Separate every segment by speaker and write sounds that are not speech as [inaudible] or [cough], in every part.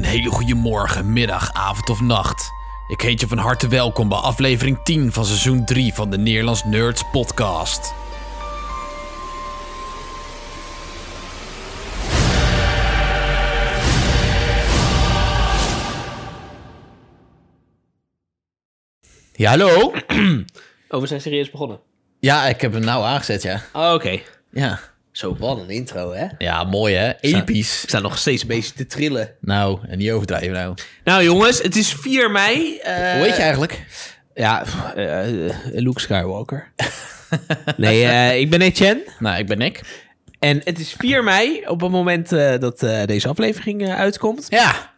Speaker 1: hele goede morgen, middag, avond of nacht. Ik heet je van harte welkom bij aflevering 10 van seizoen 3 van de Nederlands Nerds Podcast. Ja, hallo?
Speaker 2: Oh, we zijn serieus begonnen.
Speaker 1: Ja, ik heb hem nou aangezet, ja.
Speaker 2: Oh, oké.
Speaker 1: Ja,
Speaker 2: Zo, wat een intro, hè?
Speaker 1: ja mooi hè? Episch.
Speaker 2: We staan nog steeds bezig te trillen.
Speaker 1: Nou, en niet overdrijven nou.
Speaker 2: Nou, jongens, het is 4 mei. eh,
Speaker 1: Hoe heet je eigenlijk?
Speaker 2: Ja, pff, eh, eh, Luke [laughs] Skywalker. nee, eh, ik ben Etienne.
Speaker 1: Nou, ik ben Nick.
Speaker 2: En het is 4 mei, op het moment eh, dat eh, deze aflevering eh, uitkomt.
Speaker 1: Ja,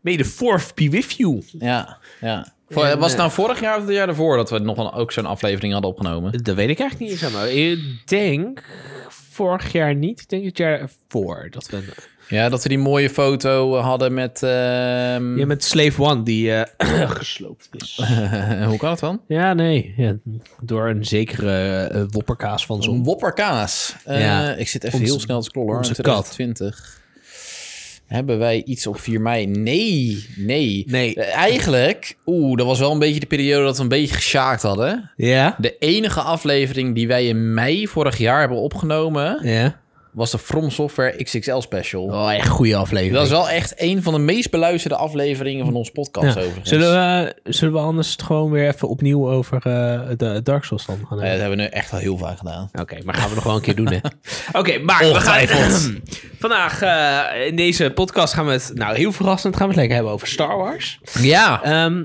Speaker 2: Mede 4th be with you.
Speaker 1: Ja, ja. Voor-
Speaker 2: En,
Speaker 1: was het
Speaker 2: eh,
Speaker 1: nou vorig jaar of het jaar daarvoor dat we nog een, ook zo'n aflevering hadden opgenomen?
Speaker 2: Dat weet ik eigenlijk niet eens helemaal. Ik denk vorig jaar niet. Ik denk het jaar ervoor. Dat we...
Speaker 1: Ja, dat we die mooie foto eh, hadden met... ehm,
Speaker 2: Ja, met Slave One, die eh, [clears throat] gesloopt is.
Speaker 1: [laughs] hoe kan het dan?
Speaker 2: Ja, nee. Ja, door een zekere eh, wopperkaas van zo'n
Speaker 1: Zo'n wopperkaas. Eh,
Speaker 2: Ja.
Speaker 1: Ik zit even
Speaker 2: Onze-
Speaker 1: heel snel te scrollen. hoor.
Speaker 2: onze kat.
Speaker 1: 2020. Hebben wij iets op 4 mei? Nee, nee.
Speaker 2: Nee.
Speaker 1: Eh, Eigenlijk, oeh, dat was wel een beetje de periode dat we een beetje gesjaakt hadden.
Speaker 2: Ja?
Speaker 1: De enige aflevering die wij in mei vorig jaar hebben opgenomen...
Speaker 2: Ja.
Speaker 1: was de From Software XXL special.
Speaker 2: Oh, echt goede aflevering.
Speaker 1: Dat is wel echt een van de meest beluisterde afleveringen van ons podcast
Speaker 2: Ja.
Speaker 1: overigens.
Speaker 2: Zullen we, eh, zullen we anders het gewoon weer even opnieuw over eh, de Dark Souls dan gaan
Speaker 1: Nee,
Speaker 2: hebben?
Speaker 1: dat hebben we nu echt al heel vaak gedaan.
Speaker 2: Eh, Oké, maar gaan we nog wel een keer doen, hè? [laughs] Oké, maar we gaan...
Speaker 1: Ongetwijfeld.
Speaker 2: [clears throat] Vandaag eh, in deze podcast gaan we het... Nou, heel verrassend gaan we het lekker hebben over Star Wars.
Speaker 1: Ja.
Speaker 2: Ehm,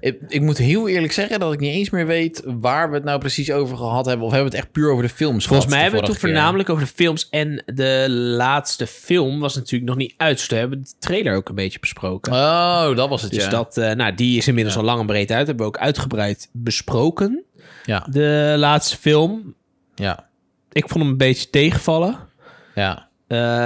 Speaker 1: Ik, ik moet heel eerlijk zeggen dat ik niet eens meer weet waar we het nou precies over gehad hebben. Of hebben we het echt puur over de films
Speaker 2: volgens mij
Speaker 1: gehad de
Speaker 2: hebben we het toen
Speaker 1: vorige keer?
Speaker 2: voornamelijk over de films. En de laatste film was natuurlijk nog niet uit. Dus we hebben de trailer ook een beetje besproken.
Speaker 1: Oh, dat was het,
Speaker 2: Dus
Speaker 1: ja.
Speaker 2: dat, eh, nou, die is inmiddels al lang en breed uit. Hebben we ook uitgebreid besproken.
Speaker 1: Ja,
Speaker 2: De laatste film.
Speaker 1: ja,
Speaker 2: Ik vond hem een beetje tegenvallen.
Speaker 1: ja.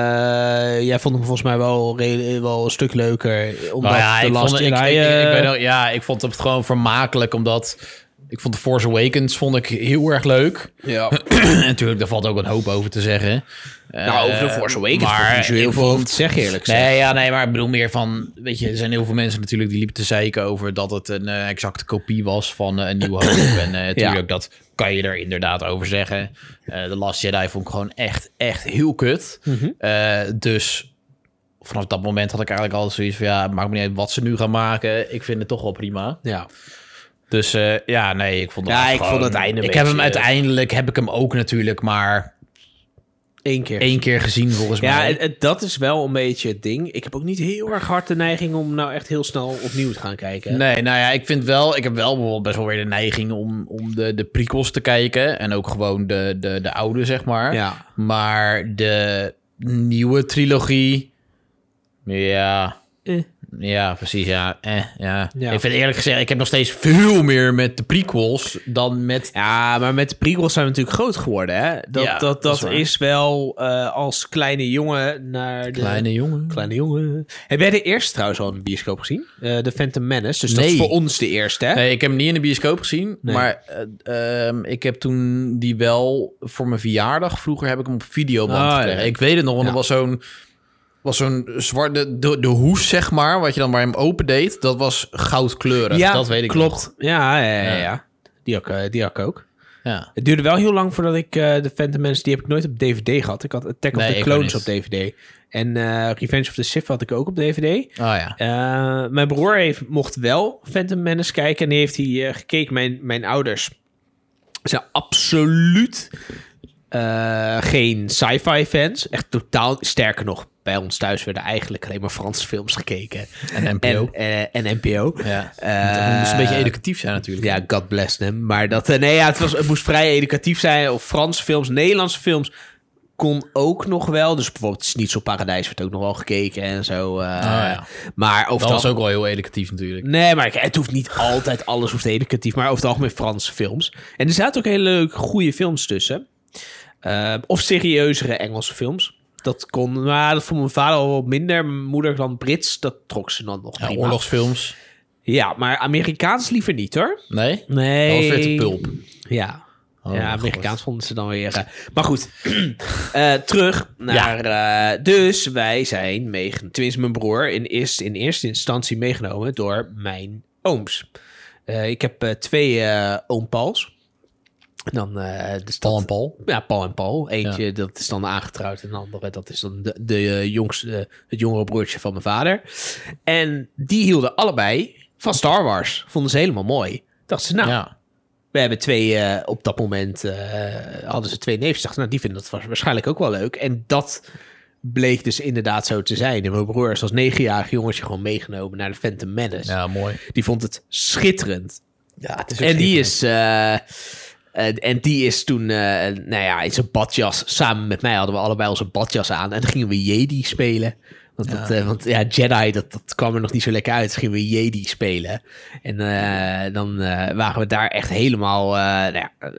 Speaker 2: Eh, jij vond hem volgens mij wel, re- wel een stuk leuker. Omdat
Speaker 1: Nou ja,
Speaker 2: de
Speaker 1: ik
Speaker 2: Last
Speaker 1: vond, het- ik,
Speaker 2: Jedi,
Speaker 1: ik, ik,
Speaker 2: eh,
Speaker 1: weet ook- ja, ik vond het gewoon vermakelijk, omdat... Ik vond The Force Awakens vond ik heel erg leuk. [clears throat] En natuurlijk, daar valt ook een hoop over te zeggen.
Speaker 2: Nou,
Speaker 1: Eh,
Speaker 2: over de Force Awakens
Speaker 1: maar
Speaker 2: vond ik niet zo heel
Speaker 1: ik
Speaker 2: veel over
Speaker 1: vond-
Speaker 2: te zeggen, eerlijk gezegd.
Speaker 1: Nee, ja, nee, maar ik bedoel meer van... Weet je, er zijn heel veel mensen natuurlijk die liepen te zeiken over... dat het een eh, exacte kopie was van eh, Een Nieuw Hoop. en
Speaker 2: [clears throat]
Speaker 1: eh, natuurlijk, dat kan je er inderdaad over zeggen. Eh The Last Jedi vond ik gewoon echt, echt heel kut.
Speaker 2: Mhm.
Speaker 1: Eh, dus vanaf dat moment had ik eigenlijk altijd zoiets van... ja, het maakt me niet uit wat ze nu gaan maken. Ik vind het toch wel prima.
Speaker 2: Ja.
Speaker 1: Dus eh, ja, nee, ik vond het
Speaker 2: Ja, ik
Speaker 1: gewoon-
Speaker 2: vond het einde een
Speaker 1: Ik heb hem
Speaker 2: beetje-
Speaker 1: uiteindelijk, heb ik hem ook natuurlijk maar...
Speaker 2: Eén keer.
Speaker 1: één keer gezien volgens
Speaker 2: ja,
Speaker 1: mij.
Speaker 2: het- het- dat is wel een beetje het ding. Ik heb ook niet heel erg hard de neiging om nou echt heel snel opnieuw te gaan kijken.
Speaker 1: Nee, nou ja, ik vind wel, ik heb wel bijvoorbeeld best wel weer de neiging om, om de, de prequels te kijken. En ook gewoon de, de, de oude, zeg maar.
Speaker 2: Ja.
Speaker 1: Maar de nieuwe trilogie. Ja.
Speaker 2: Eh.
Speaker 1: Ja, precies. Ja. Eh, ja.
Speaker 2: Ja.
Speaker 1: Ik vind eerlijk gezegd, ik heb nog steeds veel meer met de prequels dan met.
Speaker 2: Ja, maar met de prequels zijn we natuurlijk groot geworden, hè? Dat,
Speaker 1: Ja, dat
Speaker 2: dat, dat,
Speaker 1: is waar.
Speaker 2: is, wel eh, als kleine jongen naar de...
Speaker 1: jongen.
Speaker 2: Kleine jongen. Heb jij de eerste trouwens al in de bioscoop gezien? Eh de Phantom Menace. Dus dat is
Speaker 1: Nee.
Speaker 2: voor ons de eerste, hè?
Speaker 1: Nee, ik heb hem niet in de bioscoop gezien.
Speaker 2: Nee.
Speaker 1: Maar eh, ehm, ik heb toen die wel voor mijn verjaardag. Vroeger heb ik hem op videoband
Speaker 2: Ah, ja.
Speaker 1: gekregen. Ik weet het nog, want
Speaker 2: Ja.
Speaker 1: er was zo'n was zo'n zwarte de, de hoes zeg maar, wat je dan waar je hem open deed, dat was goudkleurig. dat weet ik.
Speaker 2: klopt.
Speaker 1: nog.
Speaker 2: Ja, ja, ja,
Speaker 1: Ja.
Speaker 2: ja. Die, had, ik, eh, die had ik ook.
Speaker 1: Ja.
Speaker 2: Het duurde wel heel lang voordat ik eh, de Phantom Menace... Die heb ik nooit op DVD gehad. Ik had Attack of
Speaker 1: Nee,
Speaker 2: the
Speaker 1: ik ook
Speaker 2: Clones op
Speaker 1: niet.
Speaker 2: DVD. En eh, Revenge of the Sith had ik ook op DVD.
Speaker 1: Oh ja.
Speaker 2: Eh, mijn broer heeft, mocht wel Phantom Menace kijken. En die heeft hij eh, gekeken. Mijn, mijn ouders zijn absoluut eh, geen sci-fi fans. Echt totaal. Sterker nog, bij ons thuis werden eigenlijk alleen maar Franse films gekeken.
Speaker 1: En NPO.
Speaker 2: En, eh, en NPO.
Speaker 1: ja.
Speaker 2: Eh,
Speaker 1: dat moest een beetje educatief zijn natuurlijk.
Speaker 2: ja, God bless them. Maar dat, eh, nee, ja, het, was, het moest vrij educatief zijn. Of Franse films, Nederlandse films kon ook nog wel. Dus bijvoorbeeld Snitsel Paradijs werd ook nog wel gekeken en zo. eh,
Speaker 1: Oh, ja.
Speaker 2: Maar over
Speaker 1: Dat
Speaker 2: het
Speaker 1: was ook wel heel educatief natuurlijk.
Speaker 2: Nee, maar het hoeft niet altijd alles hoeft educatief, maar over het algemeen Franse films. En er zaten ook hele leuke, goede films tussen. Eh, of serieuzere Engelse films. Dat kon, maar dat vond mijn vader al wat minder. Mijn moeder dan Brits, dat trok ze dan nog
Speaker 1: Ja,
Speaker 2: prima.
Speaker 1: oorlogsfilms.
Speaker 2: Ja, maar Amerikaans liever niet hoor.
Speaker 1: Nee?
Speaker 2: Nee.
Speaker 1: Dat was weer te pulp.
Speaker 2: Ja.
Speaker 1: Oh,
Speaker 2: ja,
Speaker 1: mijn god.
Speaker 2: Amerikaans vonden ze dan weer. eh, maar goed, [clears throat] Eh, terug naar. eh, dus wij zijn meegenomen. Tenminste, mijn broer in, eerst, in eerste instantie meegenomen door mijn ooms. Eh, ik heb eh, twee eh oom Pauls. En dan, eh, dus dat-
Speaker 1: Paul en Paul.
Speaker 2: Ja, Paul en Paul. Eentje, dat is dan aangetrouwd. En de andere, dat is dan de, de eh, jongste, eh, het jongere broertje van mijn vader. En die hielden allebei van Star Wars. Vonden ze helemaal mooi. Dachten ze, nou,
Speaker 1: Ja.
Speaker 2: we hebben twee, eh, op dat moment eh, hadden ze twee neefjes. Dachten, nou, die vinden dat wa- waarschijnlijk ook wel leuk. En dat bleek dus inderdaad zo te zijn. En mijn broer is als negenjarig jongetje gewoon meegenomen naar de Phantom Menace.
Speaker 1: ja, mooi.
Speaker 2: Die vond het schitterend.
Speaker 1: Ja, het is
Speaker 2: En die is... eh, eh, en die is toen, eh, nou ja, in zijn badjas. Samen met mij hadden we allebei onze badjas aan. En dan gingen we Jedi spelen. Want,
Speaker 1: Ah.
Speaker 2: dat, eh, want ja, Jedi, dat, dat kwam er nog niet zo lekker uit. Dus gingen we Jedi spelen. En eh, dan eh, waren we daar echt helemaal, eh, nou ja, eh,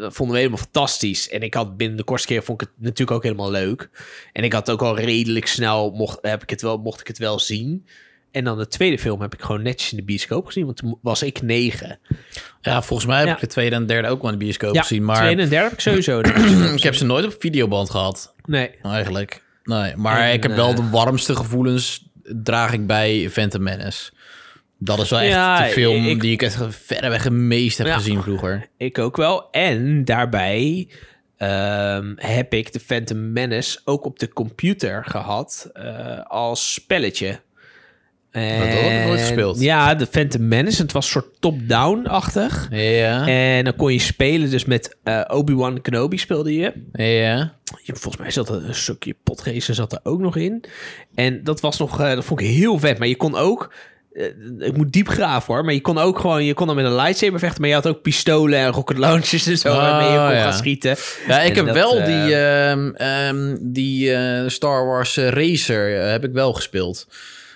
Speaker 2: dat vonden we helemaal fantastisch. En ik had binnen de kortste keer, vond ik het natuurlijk ook helemaal leuk. En ik had ook al redelijk snel, mocht, heb ik het wel, mocht ik het wel zien. En dan de tweede film heb ik gewoon netjes in de bioscoop gezien. Want toen was ik negen.
Speaker 1: Ja, volgens mij heb
Speaker 2: Ja.
Speaker 1: ik de tweede en derde ook wel in de bioscoop gezien. Maar
Speaker 2: tweede en derde heb ik sowieso.
Speaker 1: [clears throat] ik heb ze nooit op videoband gehad,
Speaker 2: [clears throat] nee.
Speaker 1: eigenlijk. Nee, maar
Speaker 2: En,
Speaker 1: ik heb wel
Speaker 2: eh,
Speaker 1: de warmste gevoelens draag ik bij Phantom Menace. Dat is wel echt
Speaker 2: Ja,
Speaker 1: de film
Speaker 2: ik-
Speaker 1: die ik echt verreweg het meest heb
Speaker 2: Ja.
Speaker 1: gezien vroeger.
Speaker 2: Ik ook wel. En daarbij ehm, heb ik de Phantom Menace ook op de computer gehad eh, als spelletje.
Speaker 1: dat had ik nooit
Speaker 2: En-
Speaker 1: gespeeld.
Speaker 2: Ja, de Phantom Menace. Het was soort top-down-achtig.
Speaker 1: Ja,
Speaker 2: En dan kon je spelen dus met eh, Obi-Wan Kenobi speelde je.
Speaker 1: ja.
Speaker 2: Je- Volgens mij zat er een stukje potracer zat er ook nog in. En dat was nog, eh, dat vond ik heel vet. Maar je kon ook, eh, ik moet diep graven hoor, maar je kon ook gewoon, je kon dan met een lightsaber vechten, maar je had ook pistolen en rocket launchers en zo
Speaker 1: Oh,
Speaker 2: waarmee je kon
Speaker 1: ja.
Speaker 2: gaan schieten.
Speaker 1: Ja, ik
Speaker 2: En
Speaker 1: heb
Speaker 2: dat,
Speaker 1: wel
Speaker 2: eh,
Speaker 1: die, ehm, ehm, die eh, Star Wars eh, Racer eh, heb ik wel gespeeld.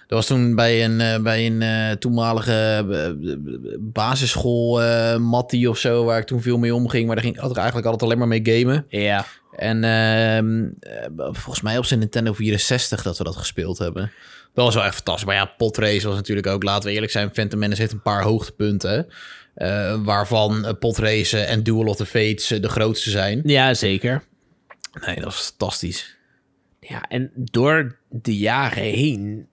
Speaker 1: Dat was toen bij een, eh, bij een eh, toenmalige eh, basisschool eh mattie of zo, waar ik toen veel mee omging. Maar daar ging, had ik eigenlijk altijd alleen maar mee gamen.
Speaker 2: Ja.
Speaker 1: En ehm, eh, volgens mij op zijn Nintendo 64 dat we dat gespeeld hebben. Dat was wel echt fantastisch. Maar ja, potrace was natuurlijk ook, laten we eerlijk zijn, Phantom Menace heeft een paar hoogtepunten. eh, waarvan eh, potrace en Duel of the Fates eh, de grootste zijn.
Speaker 2: ja, zeker.
Speaker 1: Nee, dat is fantastisch.
Speaker 2: Ja, en door de jaren heen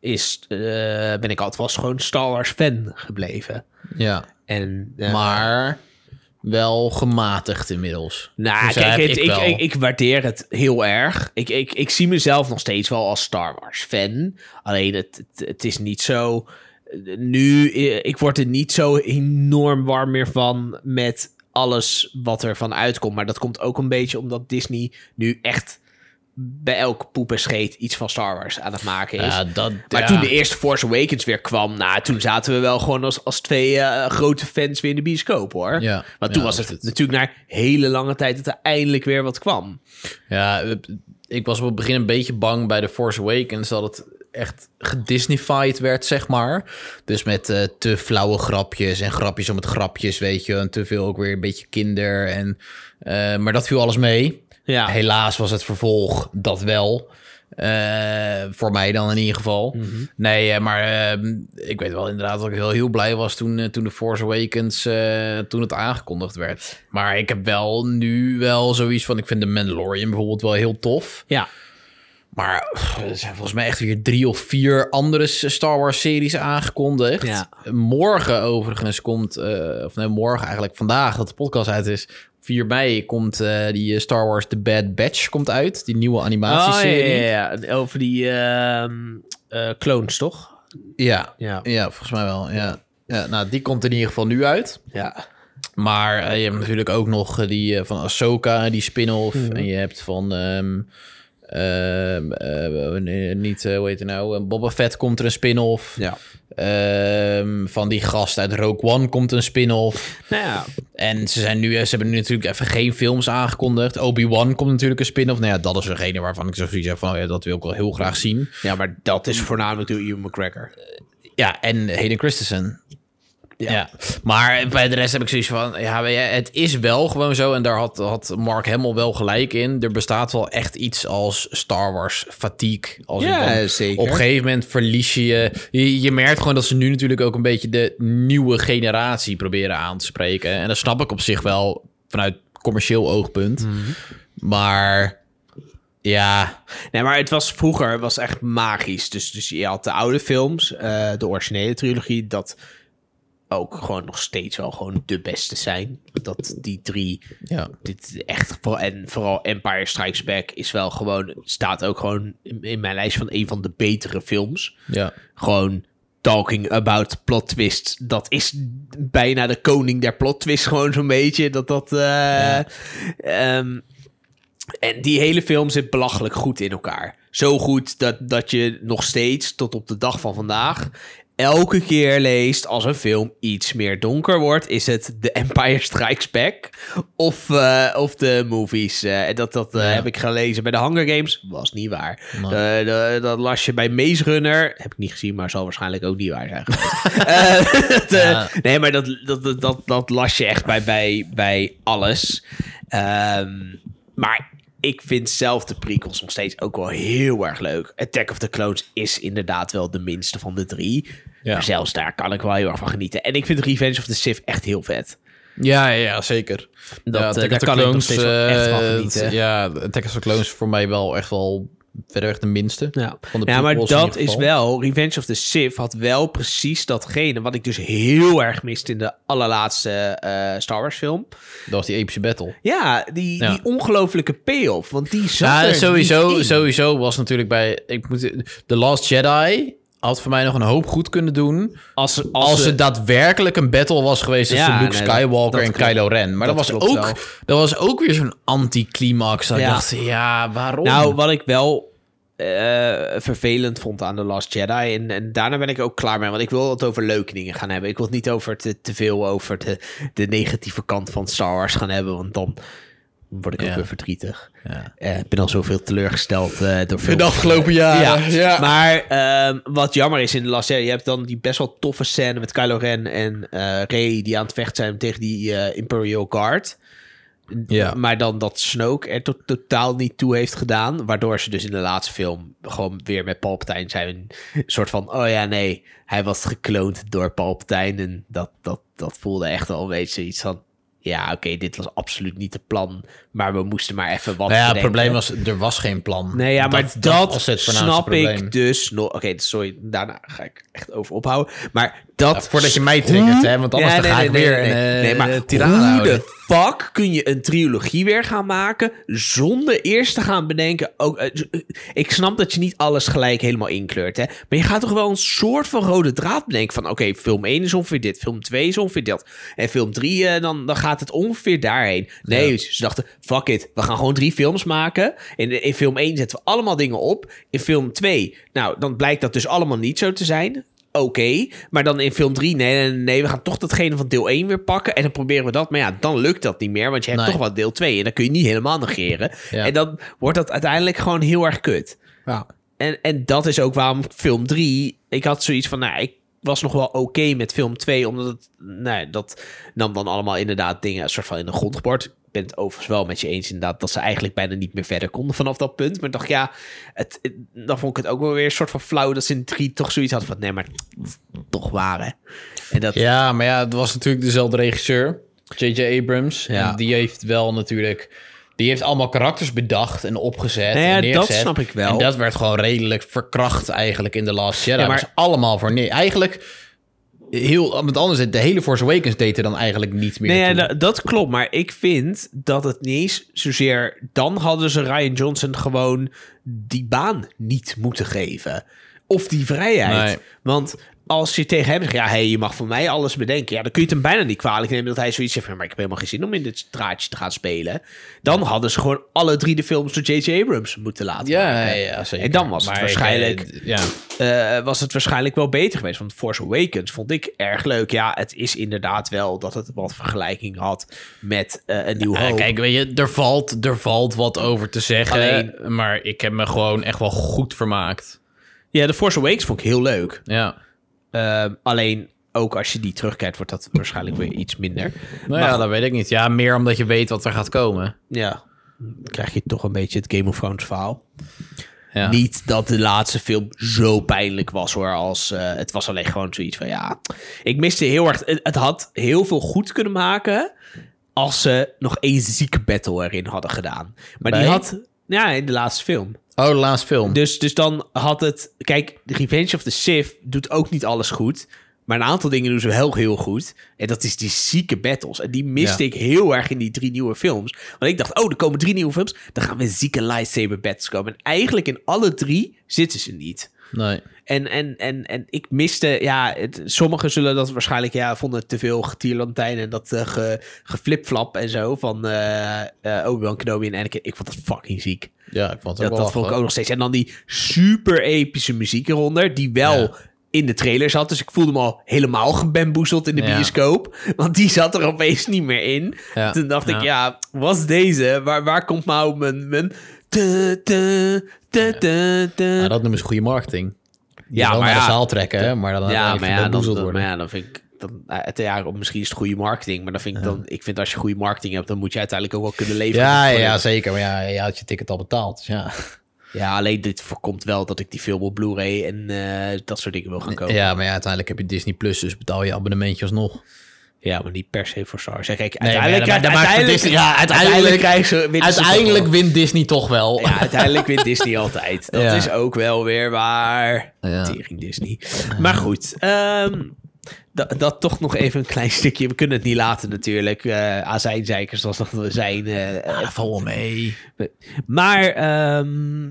Speaker 2: is, eh, ben ik altijd wel eens gewoon Star Wars fan gebleven.
Speaker 1: Ja,
Speaker 2: En, eh,
Speaker 1: maar wel gematigd inmiddels.
Speaker 2: Nou,
Speaker 1: Dus, eh,
Speaker 2: kijk,
Speaker 1: heb
Speaker 2: het-
Speaker 1: ik
Speaker 2: ik,
Speaker 1: wel.
Speaker 2: ik, ik waardeer het heel erg. Ik, ik, ik zie mezelf nog steeds wel als Star Wars-fan. Alleen, het, het, het is niet zo... Nu, eh, ik word er niet zo enorm warm meer van met alles wat er van uitkomt. Maar dat komt ook een beetje omdat Disney nu echt bij elke poep en scheet iets van Star Wars aan het maken is.
Speaker 1: Ja, dat,
Speaker 2: dus- Maar
Speaker 1: ja.
Speaker 2: toen de e- eerste Force Awakens weer kwam, nou, toen zaten we wel gewoon als, als twee eh, grote fans weer in de bioscoop, hoor.
Speaker 1: Ja,
Speaker 2: maar toen
Speaker 1: ja,
Speaker 2: was het
Speaker 1: absoluut.
Speaker 2: natuurlijk naar hele lange tijd dat er eindelijk weer wat kwam.
Speaker 1: Ja, ik was op het begin een beetje bang bij The Force Awakens dat het echt gedisneyfied werd, zeg maar. Dus met eh, te flauwe grapjes en grapjes om het grapjes, weet je. En te veel ook weer een beetje kinder. En, eh, maar dat viel alles mee.
Speaker 2: Ja.
Speaker 1: Helaas was het vervolg dat wel. Eh, voor mij dan in ieder geval. Nee, eh, maar ehm, ik weet wel inderdaad dat ik heel, heel blij was toen, eh, toen de Force Awakens, eh, toen het aangekondigd werd. Maar ik heb wel nu wel zoiets van, ik vind de Mandalorian bijvoorbeeld wel heel tof.
Speaker 2: Ja,
Speaker 1: Maar pff, er zijn volgens mij echt weer drie of vier andere s- Star Wars series aangekondigd.
Speaker 2: Ja.
Speaker 1: Morgen overigens komt, eh, of nee, morgen eigenlijk vandaag dat de podcast uit is. 4 mei komt eh, die eh, Star Wars The Bad Batch komt uit. Die nieuwe
Speaker 2: oh, ja,
Speaker 1: animatieserie.
Speaker 2: ja, ja, ja. over die ehm, eh, clones, toch?
Speaker 1: Ja,
Speaker 2: Ja.
Speaker 1: ja, volgens mij wel. Ja. Ja, nou, die komt in ieder geval nu uit.
Speaker 2: Ja,
Speaker 1: Maar eh, je hebt natuurlijk ook nog eh, die eh, van Ahsoka, die spin-off. En je hebt van... ehm, ehm, eh, nee, niet, eh, hoe heet het nou? Eh, Boba Fett komt er een spin-off.
Speaker 2: ja.
Speaker 1: Ehm, van die gast uit Rogue One komt een spin-off.
Speaker 2: Nou ja,
Speaker 1: En ze, zijn nu, ze hebben nu natuurlijk even geen films aangekondigd. Obi-Wan komt natuurlijk een spin-off. Nou ja, dat is degene waarvan ik zo zoiets heb van... oh ja, dat wil ik wel heel graag zien.
Speaker 2: ja, maar dat is voornamelijk door Ian McGregor.
Speaker 1: Ja, en Hayden Christensen.
Speaker 2: Ja.
Speaker 1: Ja. maar bij de rest heb ik zoiets van... Ja, weet je, het is wel gewoon zo. En daar had, had Mark Hamill wel gelijk in. Er bestaat wel echt iets als Star Wars fatigue. Als in
Speaker 2: Ja,
Speaker 1: van,
Speaker 2: zeker.
Speaker 1: Op een gegeven moment verlies je, je... je- Je merkt gewoon dat ze nu natuurlijk ook een beetje... de nieuwe generatie proberen aan te spreken. En dat snap ik op zich wel vanuit commercieel oogpunt.
Speaker 2: Mhm.
Speaker 1: Maar ja,
Speaker 2: Nee, maar het was vroeger was echt magisch. Dus, dus je had de oude films, eh, de originele trilogie, dat ook gewoon nog steeds wel gewoon de beste zijn. Dat die drie,
Speaker 1: ja.
Speaker 2: dit is echt voor, en vooral Empire Strikes Back is wel gewoon, staat ook gewoon in, in mijn lijst van een van de betere films.
Speaker 1: ja.
Speaker 2: Gewoon talking about plot twists. Dat is bijna de koning der plot twists gewoon zo'n beetje. Dat dat... eh, ehm, en die hele film zit belachelijk goed in elkaar. Zo goed dat, dat je nog steeds tot op de dag van vandaag... Elke keer leest als een film iets meer donker wordt, is het The Empire Strikes Back of, eh, of de movies. Eh, En dat dat eh,
Speaker 1: Ja.
Speaker 2: heb ik gelezen bij de Hunger Games, was niet waar.
Speaker 1: Nee.
Speaker 2: Eh, dat- dat las je bij Maze Runner. Heb ik niet gezien, maar zal waarschijnlijk ook niet waar zijn. geweest. Eh, [laughs] dat, eh,
Speaker 1: Ja.
Speaker 2: Nee, maar dat, dat, dat, dat, dat las je echt bij, bij, bij alles. Ehm, maar ik vind zelf de prequels nog steeds ook wel heel erg leuk. Attack of the Clones is inderdaad wel de minste van de drie.
Speaker 1: Ja.
Speaker 2: Maar zelfs daar kan ik wel heel erg van genieten. En ik vind Revenge of the Sith echt heel vet.
Speaker 1: Ja, ja, ja, zeker.
Speaker 2: Dat,
Speaker 1: ja,
Speaker 2: eh,
Speaker 1: Attack
Speaker 2: daar
Speaker 1: of the
Speaker 2: kan ik nog
Speaker 1: Clones,
Speaker 2: steeds wel echt van
Speaker 1: eh,
Speaker 2: genieten.
Speaker 1: het- Ja, Attack of the Clones is voor mij wel echt wel verreweg de minste.
Speaker 2: Ja,
Speaker 1: Van de
Speaker 2: ja maar
Speaker 1: prequels in
Speaker 2: dat
Speaker 1: ieder
Speaker 2: is
Speaker 1: geval.
Speaker 2: wel... Revenge of the Sith had wel precies datgene... wat ik dus heel erg mist in de allerlaatste eh, Star Wars film.
Speaker 1: Dat was die epische battle.
Speaker 2: Ja, die,
Speaker 1: Ja.
Speaker 2: die ongelofelijke payoff. Want die zat
Speaker 1: Ja,
Speaker 2: er niet
Speaker 1: sowieso,
Speaker 2: in.
Speaker 1: sowieso was natuurlijk bij... Ik moet, The Last Jedi had voor mij nog een hoop goed kunnen doen...
Speaker 2: Als, als,
Speaker 1: als,
Speaker 2: ze-
Speaker 1: het daadwerkelijk een battle was geweest tussen
Speaker 2: Ja,
Speaker 1: Luke
Speaker 2: nee, dat-
Speaker 1: Skywalker
Speaker 2: dat
Speaker 1: en
Speaker 2: klopt.
Speaker 1: Kylo Ren. Maar dat,
Speaker 2: Dat
Speaker 1: was
Speaker 2: klopt
Speaker 1: ook,
Speaker 2: wel.
Speaker 1: dat was ook weer zo'n anticlimax. Dat
Speaker 2: Ja.
Speaker 1: Ik dacht, ja, waarom?
Speaker 2: Nou, wat ik wel eh, vervelend vond aan The Last Jedi... En, en daarna ben ik ook klaar mee... want ik wil het over leuke dingen gaan hebben. Ik wil het niet over te, te veel over de, de negatieve kant van Star Wars gaan hebben... want dan word ik
Speaker 1: Ja.
Speaker 2: ook weer verdrietig.
Speaker 1: ja.
Speaker 2: Eh, ik ben al zoveel teleurgesteld eh, door
Speaker 1: In
Speaker 2: films.
Speaker 1: de afgelopen jaren. Ja.
Speaker 2: Maar ehm, wat jammer is in de Last Jedi, je hebt dan die best wel toffe scène met Kylo Ren en eh Rey die aan het vechten zijn tegen die eh, Imperial Guard.
Speaker 1: Ja.
Speaker 2: Maar dan dat Snoke er to- totaal niet toe heeft gedaan. Waardoor ze dus in de laatste film gewoon weer met Palpatine zijn. Een soort van, oh ja, nee, hij was gekloond door Palpatine. En dat, dat, dat voelde echt al een beetje iets van, ja, oké, dit was absoluut niet het plan. Maar we moesten maar even wat
Speaker 1: Nou ja, het
Speaker 2: bedenken.
Speaker 1: probleem was, er was geen plan.
Speaker 2: Nee, ja, maar dat,
Speaker 1: was
Speaker 2: snap
Speaker 1: probleem.
Speaker 2: ik dus nog. Oké, sorry, daarna ga ik echt over ophouden. Maar dat...
Speaker 1: Ja, voordat je mij triggert, hè, want anders
Speaker 2: Ja,
Speaker 1: dan ga
Speaker 2: nee, nee,
Speaker 1: ik
Speaker 2: nee,
Speaker 1: weer
Speaker 2: nee,
Speaker 1: een
Speaker 2: nee.
Speaker 1: eh,
Speaker 2: Nee, maar
Speaker 1: tirade
Speaker 2: hoe
Speaker 1: houden.
Speaker 2: de fuck kun je een trilogie weer gaan maken zonder eerst te gaan bedenken... Ook, eh, eh, ik snap dat je niet alles gelijk helemaal inkleurt, hè. Maar je gaat toch wel een soort van rode draad bedenken van... Oké, film 1 is ongeveer dit, film 2 is ongeveer dat. En film 3, eh, dan, dan gaat het ongeveer daarheen. Nee, ze dachten, fuck it, we gaan gewoon drie films maken. In, in film 1 zetten we allemaal dingen op. In film 2, nou, dan blijkt dat dus allemaal niet zo te zijn. Oké, maar dan in film 3, nee, nee, nee, we gaan toch datgene van deel 1 weer pakken. En dan proberen we dat. Maar ja, dan lukt dat niet meer, want je hebt
Speaker 1: Nee.
Speaker 2: toch wel deel 2. En dan kun je niet helemaal negeren.
Speaker 1: Ja.
Speaker 2: En dan wordt dat uiteindelijk gewoon heel erg kut.
Speaker 1: Ja.
Speaker 2: En, en dat is ook waarom film 3. Ik had zoiets van, nou, ik was nog wel oké met film 2, omdat het, nou, dat nam dan allemaal inderdaad dingen een soort van in de grond geboord. Ik ben het overigens wel met je eens inderdaad dat ze eigenlijk bijna niet meer verder konden vanaf dat punt. Maar ik dacht, ja, het, het- dan vond ik het ook wel weer een soort van flauw dat ze in 3 toch zoiets hadden van, nee, maar toch waren. En dat,
Speaker 1: Ja, maar ja, het was natuurlijk dezelfde regisseur, J.J. Abrams.
Speaker 2: Ja.
Speaker 1: En die heeft wel natuurlijk... Die heeft allemaal karakters bedacht en opgezet
Speaker 2: Nou ja,
Speaker 1: en neergezet.
Speaker 2: dat snap ik wel.
Speaker 1: En dat werd gewoon redelijk verkracht eigenlijk in The Last Jedi.
Speaker 2: Ja, maar-
Speaker 1: maar... was allemaal voor nee. Eigenlijk, heel, met anders, de hele Force Awakens deed er dan eigenlijk niet meer
Speaker 2: Nee, ja,
Speaker 1: toe.
Speaker 2: da- dat klopt. Maar ik vind dat het niet eens zozeer... Dan hadden ze Ryan Johnson gewoon die baan niet moeten geven. Of die vrijheid.
Speaker 1: Nee.
Speaker 2: Want als je tegen hem zegt... Ja, hey, je mag van mij alles bedenken. Ja, dan kun je het hem bijna niet kwalijk nemen... dat hij zoiets heeft van... Maar ik heb helemaal geen zin om in dit straatje te gaan spelen. Dan hadden ze gewoon alle drie de films... door J.J. Abrams moeten laten
Speaker 1: Ja, ja,
Speaker 2: maken.
Speaker 1: ja, zeker.
Speaker 2: En dan was het
Speaker 1: Maar,
Speaker 2: waarschijnlijk...
Speaker 1: eh, Ja,
Speaker 2: Eh, was het waarschijnlijk wel beter geweest. Want Force Awakens vond ik erg leuk. Ja, het is inderdaad wel dat het wat vergelijking had met eh, een nieuw
Speaker 1: Ja,
Speaker 2: hoop.
Speaker 1: kijk, weet je, er valt, er valt wat over te zeggen.
Speaker 2: Alleen-
Speaker 1: Maar ik heb me gewoon echt wel goed vermaakt.
Speaker 2: Ja, de Force Awakens vond ik heel leuk.
Speaker 1: Ja.
Speaker 2: Ehm, alleen ook als je die terugkijkt, wordt dat waarschijnlijk weer iets minder.
Speaker 1: Nou ja, dat weet ik niet. Ja, meer omdat je weet wat er gaat komen.
Speaker 2: Ja, dan krijg je toch een beetje het Game of Thrones verhaal.
Speaker 1: Ja.
Speaker 2: Niet dat de laatste film zo pijnlijk was hoor. Als, eh, het was alleen gewoon zoiets van ja. Ik miste heel erg. Het, het had heel veel goed kunnen maken. als ze nog één zieke battle erin hadden gedaan. Maar die
Speaker 1: Bij?
Speaker 2: had... Ja, in de laatste film.
Speaker 1: Oh, de laatste film.
Speaker 2: Dus, dus dan had het... Kijk, Revenge of the Sith doet ook niet alles goed. Maar een aantal dingen doen ze wel heel goed. En dat is die zieke battles. En die miste
Speaker 1: Ja.
Speaker 2: ik heel erg in die drie nieuwe films. Want ik dacht, oh, er komen drie nieuwe films. Dan gaan we zieke lightsaber battles komen. En eigenlijk in alle drie zitten ze niet.
Speaker 1: Nee.
Speaker 2: En, en, en, en ik miste, ja, het- sommigen zullen dat waarschijnlijk, ja, vonden het te veel getierlantijn en dat eh, ge, geflipflap en zo van eh eh Obi-Wan Kenobi en Anakin. Ik vond dat fucking ziek.
Speaker 1: Ja, ik vond het ook
Speaker 2: Dat, dat
Speaker 1: wel
Speaker 2: vond ik ook nog steeds. En dan die super epische muziek eronder, die wel
Speaker 1: Ja.
Speaker 2: in de trailer zat. Dus ik voelde me al helemaal gebamboezeld in de
Speaker 1: Ja.
Speaker 2: bioscoop. Want die zat er opeens niet meer in.
Speaker 1: Ja.
Speaker 2: Toen dacht ik,
Speaker 1: Ja.
Speaker 2: ja, was deze? Waar, waar komt nou mijn... mijn te, te, te, te, te.
Speaker 1: Ja, dat noemen ze goede marketing.
Speaker 2: Ja,
Speaker 1: Ja, maar
Speaker 2: maar
Speaker 1: naar
Speaker 2: ja.
Speaker 1: de zaal trekken, hè, maar dan
Speaker 2: ja,
Speaker 1: even
Speaker 2: maar ja, dan,
Speaker 1: bamboezeld
Speaker 2: dan- maar
Speaker 1: worden.
Speaker 2: ja, dan vind ik... Dan, eh, het, ja, misschien is het goede marketing, maar dan vind ik dan... Ik vind als je goede marketing hebt, dan moet je uiteindelijk ook wel kunnen leveren.
Speaker 1: Ja,
Speaker 2: met
Speaker 1: ja,
Speaker 2: het product.
Speaker 1: zeker. Maar ja, je had je ticket al betaald. dus ja.
Speaker 2: ja, alleen dit voorkomt wel dat ik die film op Blu-ray en eh, dat soort dingen wil gaan kopen.
Speaker 1: ja, maar ja, uiteindelijk heb je Disney Plus, dus betaal je abonnementje alsnog.
Speaker 2: Ja, maar niet per se voor Star. Zeg, kijk,
Speaker 1: Nee,
Speaker 2: uiteindelijk,
Speaker 1: maar ja, dat maakt- dat maakt voor
Speaker 2: uiteindelijk,
Speaker 1: Disney- ja, uiteindelijk-
Speaker 2: krijgen ze winnen ze
Speaker 1: Uiteindelijk
Speaker 2: toch
Speaker 1: wint Disney toch wel. [laughs]
Speaker 2: wel. [laughs] Ja, uiteindelijk wint Disney altijd. Dat
Speaker 1: Ja.
Speaker 2: is ook wel weer waar.
Speaker 1: Ja.
Speaker 2: Tering Disney. Maar goed, ehm, da- dat toch nog even een klein stukje. We kunnen het niet laten natuurlijk. eh azijnzeikers zoals dat we zijn. eh, eh,
Speaker 1: Ah, val wel mee.
Speaker 2: maar ehm,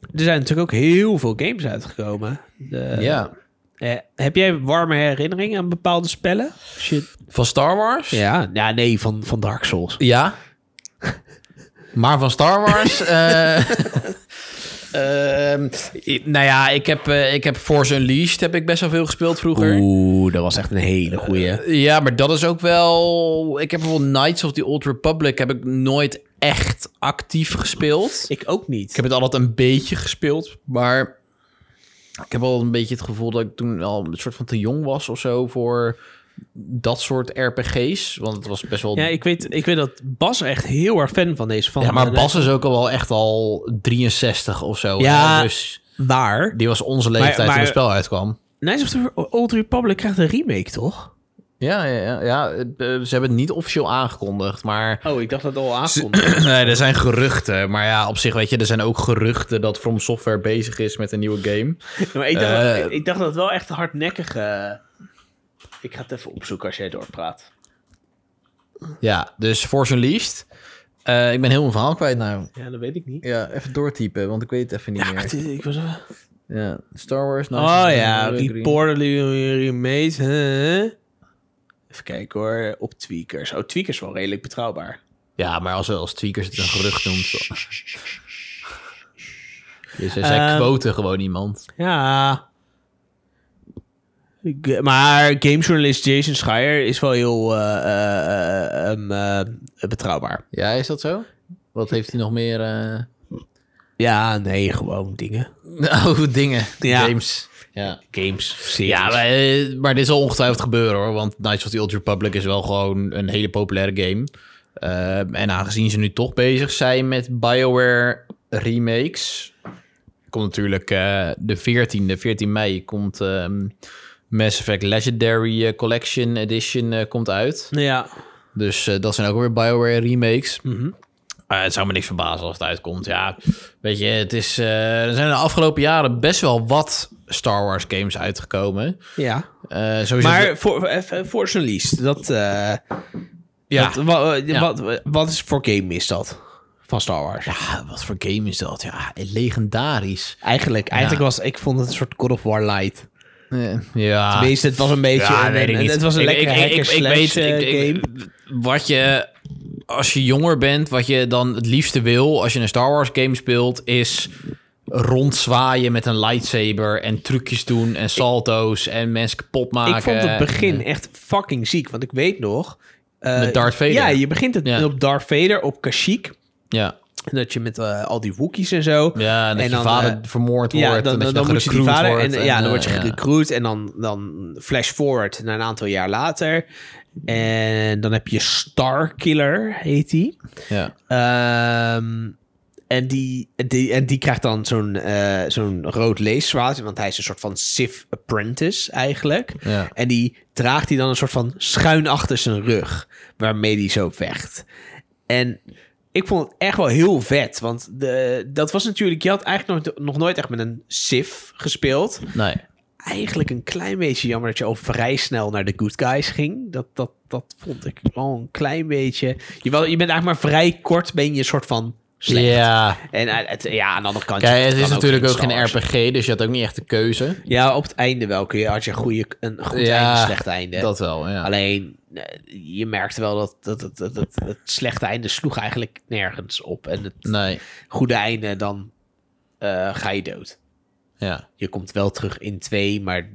Speaker 2: er zijn natuurlijk ook heel veel games uitgekomen. De-
Speaker 1: ja.
Speaker 2: eh, heb jij warme herinneringen aan bepaalde spellen? Shit.
Speaker 1: Van Star Wars?
Speaker 2: Ja, ja nee, van, van Dark Souls.
Speaker 1: Ja. Maar van Star
Speaker 2: [laughs]
Speaker 1: Wars. eh, ehm, i- nou ja, ik heb, eh, ik heb Force Unleashed heb ik best wel veel gespeeld vroeger.
Speaker 2: Oeh, dat was echt een hele goeie.
Speaker 1: Ja, maar dat is ook wel. Ik heb bijvoorbeeld Knights of the Old Republic heb ik nooit echt actief gespeeld.
Speaker 2: ik ook niet.
Speaker 1: Ik heb het altijd een beetje gespeeld, maar ik heb wel een beetje het gevoel dat ik toen al een soort van te jong was of zo voor dat soort RPG's, want het was best wel.
Speaker 2: ja, ik weet, ik weet dat Bas echt heel erg fan van deze van. eh,
Speaker 1: Ja, maar Bas is ook al wel echt al 63 of zo.
Speaker 2: Ja.
Speaker 1: hè? Dus
Speaker 2: Waar?
Speaker 1: die was onze leeftijd
Speaker 2: Maar- maar-
Speaker 1: toen het spel uitkwam.
Speaker 2: Knights of the Old Republic krijgt een remake, toch?
Speaker 1: Ja, ja, ja, ja, eh, ze hebben het niet officieel aangekondigd, maar
Speaker 2: Oh, ik dacht dat al
Speaker 1: [clears throat] nee, er zijn geruchten. Maar ja, op zich weet je, er zijn ook geruchten dat From Software bezig is met een nieuwe game.
Speaker 2: [laughs] maar ik dacht,
Speaker 1: Eh.
Speaker 2: dat, ik dacht dat wel echt hardnekkig... eh, Ik ga het even opzoeken als jij doorpraat.
Speaker 1: Ja, dus Force Unleashed. Eh ik ben heel mijn verhaal kwijt nou.
Speaker 2: Ja, dat weet ik niet.
Speaker 1: Ja, even doortypen, want ik weet het even niet meer.
Speaker 2: ik was...
Speaker 1: Ja. Star Wars. Knights
Speaker 2: Oh
Speaker 1: of the
Speaker 2: ja,
Speaker 1: Old Republic.
Speaker 2: reportedly remade. hè? Even kijken hoor, op Tweakers. Oh, Tweakers is wel redelijk betrouwbaar.
Speaker 1: Ja, maar als, als tweakers het een gerucht noemt. dan- Dus zij
Speaker 2: Ehm.
Speaker 1: quoten gewoon iemand.
Speaker 2: Ja. G- maar gamejournalist Jason Schreier is wel heel eh, eh, eh, ehm, eh, betrouwbaar.
Speaker 1: Ja, is dat zo? Wat heeft hij nog meer? eh [laughs]
Speaker 2: Ja, nee, gewoon dingen.
Speaker 1: Oh, dingen.
Speaker 2: Ja.
Speaker 1: Games. Ja.
Speaker 2: Games,
Speaker 1: Ja, maar, eh, maar dit zal ongetwijfeld gebeuren hoor. Want Knights of the Old Republic is wel gewoon een hele populaire game. Ehm, en aangezien ze nu toch bezig zijn met BioWare remakes. Komt natuurlijk eh, de 14e, 14 mei komt ehm, Mass Effect Legendary eh, Collection Edition eh, komt uit.
Speaker 2: Ja.
Speaker 1: Dus eh, dat zijn ook weer BioWare remakes. Eh, het zou me niks verbazen als het uitkomt. Ja, weet je, het is, eh, er zijn de afgelopen jaren best wel wat Star Wars games uitgekomen.
Speaker 2: ja.
Speaker 1: Eh, sowieso
Speaker 2: Maar voor, even voor zijn lease, dat, eh,
Speaker 1: Ja.
Speaker 2: dat- wa- eh,
Speaker 1: Ja.
Speaker 2: Wat, wat is voor game is dat? Van Star Wars.
Speaker 1: ja, wat voor game is dat? Ja, legendarisch.
Speaker 2: Eigenlijk, eigenlijk was, ik vond het een soort God of War light.
Speaker 1: ja.
Speaker 2: Tenminste, het was een beetje,
Speaker 1: Ah. Ja,
Speaker 2: een-
Speaker 1: weet ik
Speaker 2: een-
Speaker 1: niet.
Speaker 2: het was een
Speaker 1: Ik-
Speaker 2: lekkere
Speaker 1: ik- ik- ik- ik
Speaker 2: hacker-slash,
Speaker 1: weet-
Speaker 2: eh,
Speaker 1: ik- ik-
Speaker 2: game.
Speaker 1: Wat je, als je jonger bent, wat je dan het liefste wil als je een Star Wars game speelt, is rondzwaaien met een lightsaber en trucjes doen en salto's en mensen kapot maken.
Speaker 2: Ik vond het begin echt fucking ziek, want ik weet nog... eh,
Speaker 1: Met Darth Vader.
Speaker 2: Ja, je begint het
Speaker 1: Ja.
Speaker 2: op Darth Vader, op Kashyyyk.
Speaker 1: Ja,
Speaker 2: Dat je met eh, al die Wookiees en zo...
Speaker 1: ja en dat
Speaker 2: En
Speaker 1: je
Speaker 2: dan,
Speaker 1: vader
Speaker 2: eh,
Speaker 1: vermoord wordt
Speaker 2: Ja,
Speaker 1: en
Speaker 2: dan, dan,
Speaker 1: dat je
Speaker 2: dan
Speaker 1: dan
Speaker 2: moet je die
Speaker 1: gerecruit
Speaker 2: vader... En,
Speaker 1: wordt
Speaker 2: ja, dan
Speaker 1: eh,
Speaker 2: word je
Speaker 1: ja.
Speaker 2: gerecruit en dan, dan flash forward naar een aantal jaar later. En dan heb je Starkiller, heet die.
Speaker 1: Ja.
Speaker 2: Ehm, En die, en die, en die krijgt dan zo'n eh, zo'n rood leeszwaard. Want hij is een soort van Sith apprentice eigenlijk.
Speaker 1: Ja.
Speaker 2: En die draagt hij dan een soort van schuin achter zijn rug. Waarmee die zo vecht. En ik vond het echt wel heel vet. Want de, dat was natuurlijk... Je had eigenlijk nog, nog nooit echt met een Sith gespeeld.
Speaker 1: Nee.
Speaker 2: Eigenlijk een klein beetje jammer dat je al vrij snel naar de good guys ging. Dat, dat, dat vond ik wel een klein beetje... Je, wel, je bent eigenlijk maar vrij kort ben je een soort van slecht.
Speaker 1: Ja.
Speaker 2: En eh, het, ja, aan de andere kant...
Speaker 1: Kijk,
Speaker 2: je
Speaker 1: het
Speaker 2: kan
Speaker 1: is natuurlijk ook
Speaker 2: Star
Speaker 1: geen
Speaker 2: Wars.
Speaker 1: RPG, dus je had ook niet echt de keuze.
Speaker 2: Ja, op het einde wel kun je... Had je een, goede, een goed
Speaker 1: Ja,
Speaker 2: einde, een slecht einde.
Speaker 1: Dat wel, ja.
Speaker 2: Alleen, eh, je merkte wel dat, dat, dat, dat, dat het slechte einde sloeg eigenlijk nergens op. En het
Speaker 1: Nee,
Speaker 2: goede einde, dan eh, ga je dood.
Speaker 1: ja.
Speaker 2: Je komt wel terug in 2, maar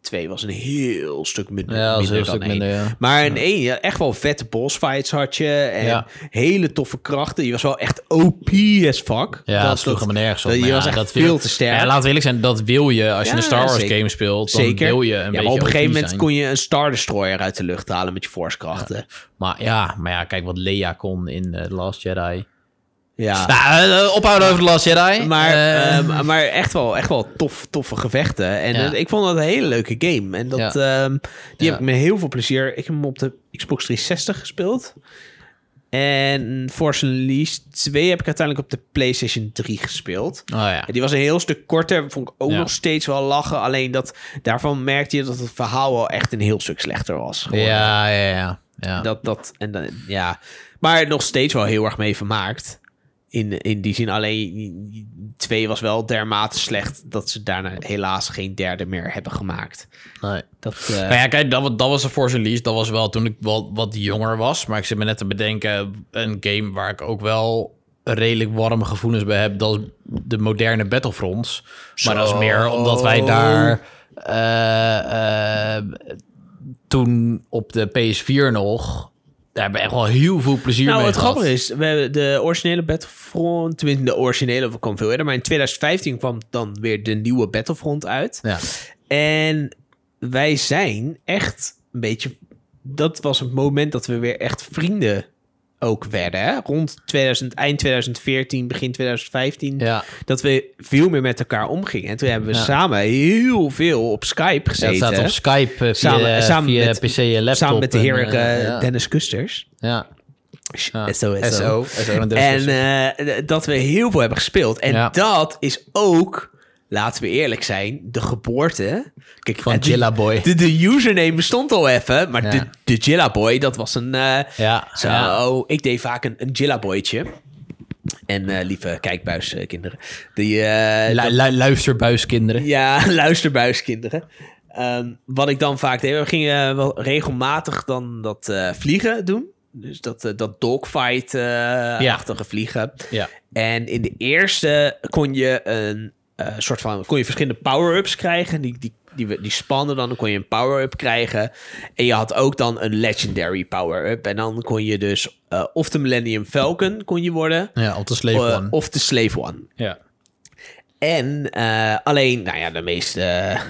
Speaker 2: 2 was een heel stuk minder,
Speaker 1: Ja, dat is
Speaker 2: minder
Speaker 1: een
Speaker 2: dan
Speaker 1: stuk
Speaker 2: één.
Speaker 1: minder, ja.
Speaker 2: Maar in één, ja, echt wel vette boss fights had je. En
Speaker 1: Ja.
Speaker 2: hele toffe krachten. Je was wel echt OP as fuck.
Speaker 1: Ja, dat, sloeg hem nergens op.
Speaker 2: dat-
Speaker 1: maar
Speaker 2: je
Speaker 1: ja,
Speaker 2: was echt
Speaker 1: dat
Speaker 2: veel
Speaker 1: wil-
Speaker 2: te sterk.
Speaker 1: Ja, laten we eerlijk zijn, dat wil je. Als je
Speaker 2: Ja,
Speaker 1: een Star Wars
Speaker 2: zeker.
Speaker 1: game speelt, dan
Speaker 2: Zeker.
Speaker 1: wil je een
Speaker 2: ja,
Speaker 1: beetje
Speaker 2: maar op een gegeven
Speaker 1: OP
Speaker 2: moment
Speaker 1: zijn.
Speaker 2: kon je een Star Destroyer uit de lucht halen met je force krachten.
Speaker 1: Maar ja, maar ja, kijk wat Leia kon in eh, The Last Jedi.
Speaker 2: ja.
Speaker 1: Nou, eh, ophouden over The Last Jedi.
Speaker 2: Ah. Maar,
Speaker 1: Eh,
Speaker 2: ehm, maar echt wel, echt wel tof, toffe gevechten. En
Speaker 1: Ja.
Speaker 2: eh, ik vond dat een hele leuke game. En dat, ehm, die
Speaker 1: Ja.
Speaker 2: heb ik met heel veel plezier. Ik heb hem op de Xbox 360 gespeeld. En Force Unleashed 2 heb ik uiteindelijk op de PlayStation 3 gespeeld.
Speaker 1: oh ja.
Speaker 2: En die was een heel stuk korter. Vond ik ook
Speaker 1: Ja.
Speaker 2: nog steeds wel lachen. Alleen dat, daarvan merkte je dat het verhaal wel echt een heel stuk slechter was. geworden.
Speaker 1: Ja, ja, ja. ja.
Speaker 2: Dat, dat, en dan, ja. Maar nog steeds wel heel erg mee vermaakt. In, in die zin, alleen twee was wel dermate slecht dat ze daarna helaas geen derde meer hebben gemaakt.
Speaker 1: Nee.
Speaker 2: Dat, eh,
Speaker 1: Nou ja, kijk, dat, wa- dat was de Force Unleashed. Dat was wel toen ik wel wat jonger was. Maar ik zit me net te bedenken, een game waar ik ook wel redelijk warme gevoelens bij heb. Dat is de moderne Battlefronts. Maar dat is meer omdat wij daar eh, eh, toen op de PS4 nog... Daar hebben we echt wel heel veel plezier
Speaker 2: nou,
Speaker 1: mee
Speaker 2: het
Speaker 1: gehad.
Speaker 2: grappige is, we hebben de originele Battlefront, tenminste de originele kwam veel eerder, maar in 2015 kwam dan weer de nieuwe Battlefront uit.
Speaker 1: Ja.
Speaker 2: En wij zijn echt een beetje. Dat was het moment dat we weer echt vrienden ook werden. Hè? Rond 2000, eind 2014, begin 2015.
Speaker 1: Ja.
Speaker 2: Dat we veel meer met elkaar omgingen. En toen hebben we
Speaker 1: Ja.
Speaker 2: samen heel veel op Skype
Speaker 1: Ja, het
Speaker 2: gezeten.
Speaker 1: staat op Skype eh, via,
Speaker 2: Samen- samen
Speaker 1: via
Speaker 2: met-
Speaker 1: PC en laptop.
Speaker 2: samen met de
Speaker 1: en,
Speaker 2: heer
Speaker 1: eh,
Speaker 2: eh,
Speaker 1: ja.
Speaker 2: Dennis Kusters.
Speaker 1: Ja. Ja.
Speaker 2: SO.
Speaker 1: SO. En, dus
Speaker 2: En eh, d- dat we heel veel hebben gespeeld. En
Speaker 1: Ja.
Speaker 2: dat is ook, laten we eerlijk zijn, de geboorte Kijk,
Speaker 1: Van
Speaker 2: eh, die-
Speaker 1: Jilla Boy.
Speaker 2: De, de username bestond al even, maar
Speaker 1: Ja.
Speaker 2: de, de Jilla Boy, dat was een... eh,
Speaker 1: ja,
Speaker 2: zo, oh,
Speaker 1: ja.
Speaker 2: ik deed vaak een, een Jilla Boytje. En eh, lieve kijkbuiskinderen. Die, eh,
Speaker 1: Lu-
Speaker 2: dat-
Speaker 1: lu- luisterbuiskinderen.
Speaker 2: ja, [laughs] luisterbuiskinderen. Ehm, wat ik dan vaak deed, we gingen wel regelmatig dan dat eh, vliegen doen. Dus dat, eh, dat dogfight-achtige vliegen.
Speaker 1: Ja.
Speaker 2: En in de eerste kon je een eh, soort van kon je verschillende power-ups krijgen. Die, die, die, we- die spannen dan, dan kon je een power-up krijgen. En je had ook dan een legendary power-up. En dan kon je dus eh, of de Millennium Falcon kon je worden,
Speaker 1: Ja, op de Slave
Speaker 2: eh,
Speaker 1: One.
Speaker 2: of de Slave One.
Speaker 1: Ja.
Speaker 2: En eh, alleen, nou ja, de meeste. eh,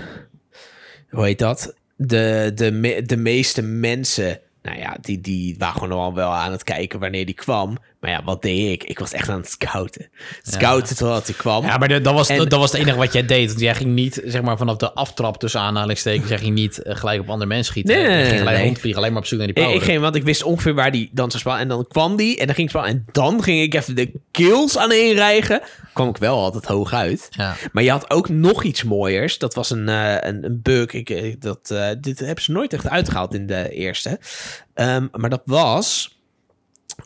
Speaker 2: hoe heet dat? De, de, me- de meeste mensen. Nou ja, die, die waren gewoon al wel aan het kijken wanneer die kwam. Maar ja, wat deed ik? Ik was echt aan het scouten. Scouten totdat hij kwam.
Speaker 1: Ja, maar de- dat was,
Speaker 2: En-
Speaker 1: dat, dat was het enige wat jij deed. Want jij ging niet, zeg maar, vanaf de aftrap tussen aanhalingstekens, jij ging niet eh, gelijk op andere mensen schieten.
Speaker 2: Nee,
Speaker 1: Jij
Speaker 2: nee,
Speaker 1: ging
Speaker 2: nee,
Speaker 1: gelijk
Speaker 2: nee.
Speaker 1: rondvliegen, alleen maar op zoek naar die
Speaker 2: ik,
Speaker 1: power.
Speaker 2: ik ging, want ik wist ongeveer waar die dan zou spelen. En dan kwam die en dan ging ik spelen. En dan ging ik even de kills aaneenrijgen. Kwam ik wel altijd hoog uit.
Speaker 1: Ja.
Speaker 2: Maar je had ook nog iets mooiers. Dat was een, eh, een, een bug. Ik, eh, dat, eh, dit hebben ze nooit echt uitgehaald in de eerste. Ehm, maar dat was...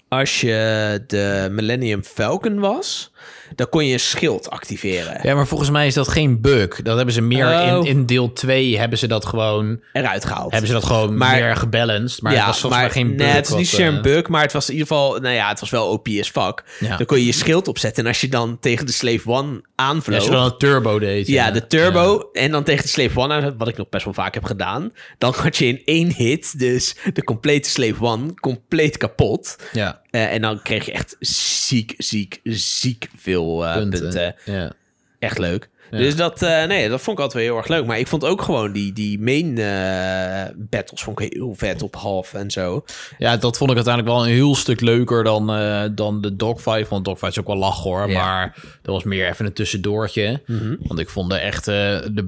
Speaker 2: Als je de Millennium Falcon was... dan kon je een schild activeren.
Speaker 1: ja, maar volgens mij is dat geen bug. Dat hebben ze meer
Speaker 2: Oh.
Speaker 1: in, in deel 2 hebben ze dat gewoon,
Speaker 2: Eruit gehaald.
Speaker 1: hebben ze dat gewoon
Speaker 2: Maar-
Speaker 1: meer gebalanced. Maar het was volgens mij geen bug.
Speaker 2: nee, het is
Speaker 1: wat,
Speaker 2: niet zozeer
Speaker 1: eh,
Speaker 2: een bug, maar het was in ieder geval... Nou ja, het was wel OP as fuck.
Speaker 1: Ja.
Speaker 2: Dan kon je je schild opzetten. En als je dan tegen de Slave One
Speaker 1: ja,
Speaker 2: aanvloog...
Speaker 1: Als je dan een turbo deed.
Speaker 2: Ja, de turbo. En dan tegen de Slave One, aan, wat ik nog best wel vaak heb gedaan. Dan had je in één hit dus de complete Slave One compleet kapot.
Speaker 1: Ja,
Speaker 2: Eh, en dan kreeg je echt ziek, ziek, ziek veel eh, punten.
Speaker 1: punten. Ja.
Speaker 2: Echt leuk. Dus dat, eh, nee, dat vond ik altijd wel heel erg leuk. Maar ik vond ook gewoon die, die main eh, battles vond ik heel vet op half en zo.
Speaker 1: Ja, dat vond ik uiteindelijk wel een heel stuk leuker dan, eh, dan de dogfight. Want dogfight is ook wel lach hoor.
Speaker 2: Ja.
Speaker 1: Maar dat was meer even een tussendoortje. Want ik vond de echte de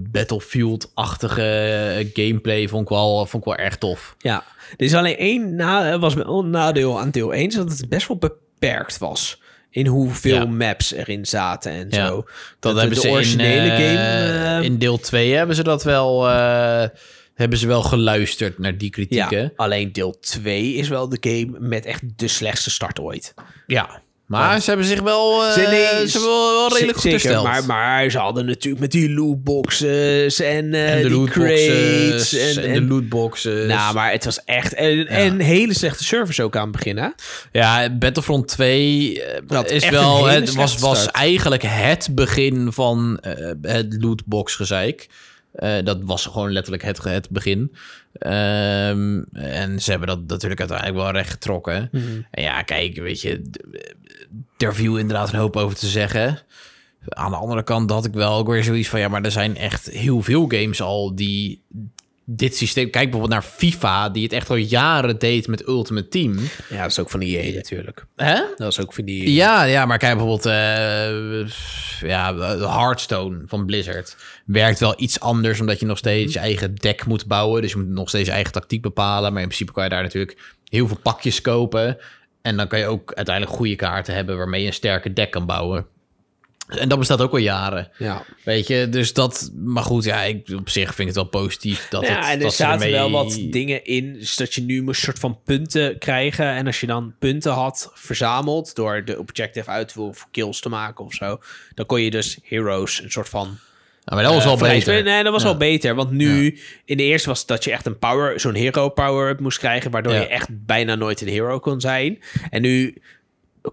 Speaker 1: Battlefield-achtige gameplay vond ik, wel, vond ik wel erg tof.
Speaker 2: Ja, er is alleen één na, was wel een nadeel aan deel 1, is dat het best wel beperkt was. In hoeveel
Speaker 1: Ja.
Speaker 2: maps erin zaten en
Speaker 1: Ja.
Speaker 2: zo.
Speaker 1: Dat
Speaker 2: de-
Speaker 1: hebben
Speaker 2: de
Speaker 1: ze
Speaker 2: originele
Speaker 1: in, eh,
Speaker 2: game. eh,
Speaker 1: in deel 2 hebben ze dat wel. eh, hebben ze wel geluisterd naar die kritieken.
Speaker 2: ja, alleen deel 2 is wel de game met echt de slechtste start ooit.
Speaker 1: Ja. Maar ze hebben zich wel, eh,
Speaker 2: Ze-
Speaker 1: ze,
Speaker 2: nee,
Speaker 1: hebben wel, wel redelijk
Speaker 2: Zeker,
Speaker 1: goed gesteld.
Speaker 2: Maar, maar ze hadden natuurlijk met die lootboxes en, eh,
Speaker 1: en de
Speaker 2: die crates.
Speaker 1: lootboxes.
Speaker 2: En,
Speaker 1: En,
Speaker 2: en,
Speaker 1: de lootboxes.
Speaker 2: nou, maar het was echt... En, en hele slechte service ook aan het begin, hè?
Speaker 1: Ja, Battlefront 2 eh,
Speaker 2: Dat
Speaker 1: is
Speaker 2: echt een
Speaker 1: wel,
Speaker 2: hele
Speaker 1: het was,
Speaker 2: slechte
Speaker 1: was
Speaker 2: start.
Speaker 1: eigenlijk het begin van eh, het lootbox gezeik. Eh, dat was gewoon letterlijk het, het begin. Ehm, en ze hebben dat natuurlijk uiteindelijk wel recht getrokken.
Speaker 2: Mhm.
Speaker 1: En ja, kijk, weet je, d- daar viel inderdaad een hoop over te zeggen. Aan de andere kant had ik wel ook weer zoiets van... ja, maar er zijn echt heel veel games al die dit systeem... Kijk bijvoorbeeld naar FIFA, die het echt al jaren deed met Ultimate Team.
Speaker 2: Ja, dat is ook van
Speaker 1: E
Speaker 2: die EA natuurlijk.
Speaker 1: Hè?
Speaker 2: Dat is ook van die
Speaker 1: Ja, ja, maar kijk bijvoorbeeld eh ja, Hearthstone van Blizzard. Werkt wel iets anders, omdat je nog steeds je
Speaker 2: Mhm.
Speaker 1: eigen deck moet bouwen. Dus je moet nog steeds je eigen tactiek bepalen. Maar in principe kan je daar natuurlijk heel veel pakjes kopen. En dan kan je ook uiteindelijk goede kaarten hebben waarmee je een sterke deck kan bouwen. En dat bestaat ook al jaren.
Speaker 2: Ja.
Speaker 1: Weet je, dus dat. Maar goed, ja, ik, op zich vind ik het wel positief dat.
Speaker 2: ja,
Speaker 1: het,
Speaker 2: en er
Speaker 1: dat ze
Speaker 2: zaten
Speaker 1: ermee-
Speaker 2: wel wat dingen in. Dus dat je nu een soort van punten krijgen. En als je dan punten had verzameld door de objective uit te voeren of kills te maken of zo. Dan kon je dus heroes een soort van.
Speaker 1: Ja, maar dat was wel
Speaker 2: eh,
Speaker 1: beter.
Speaker 2: vrij- Nee, dat was wel beter. Want nu, in de eerste was het dat je echt een power, zo'n hero power-up moest krijgen. Waardoor
Speaker 1: Ja.
Speaker 2: je echt bijna nooit een hero kon zijn. En nu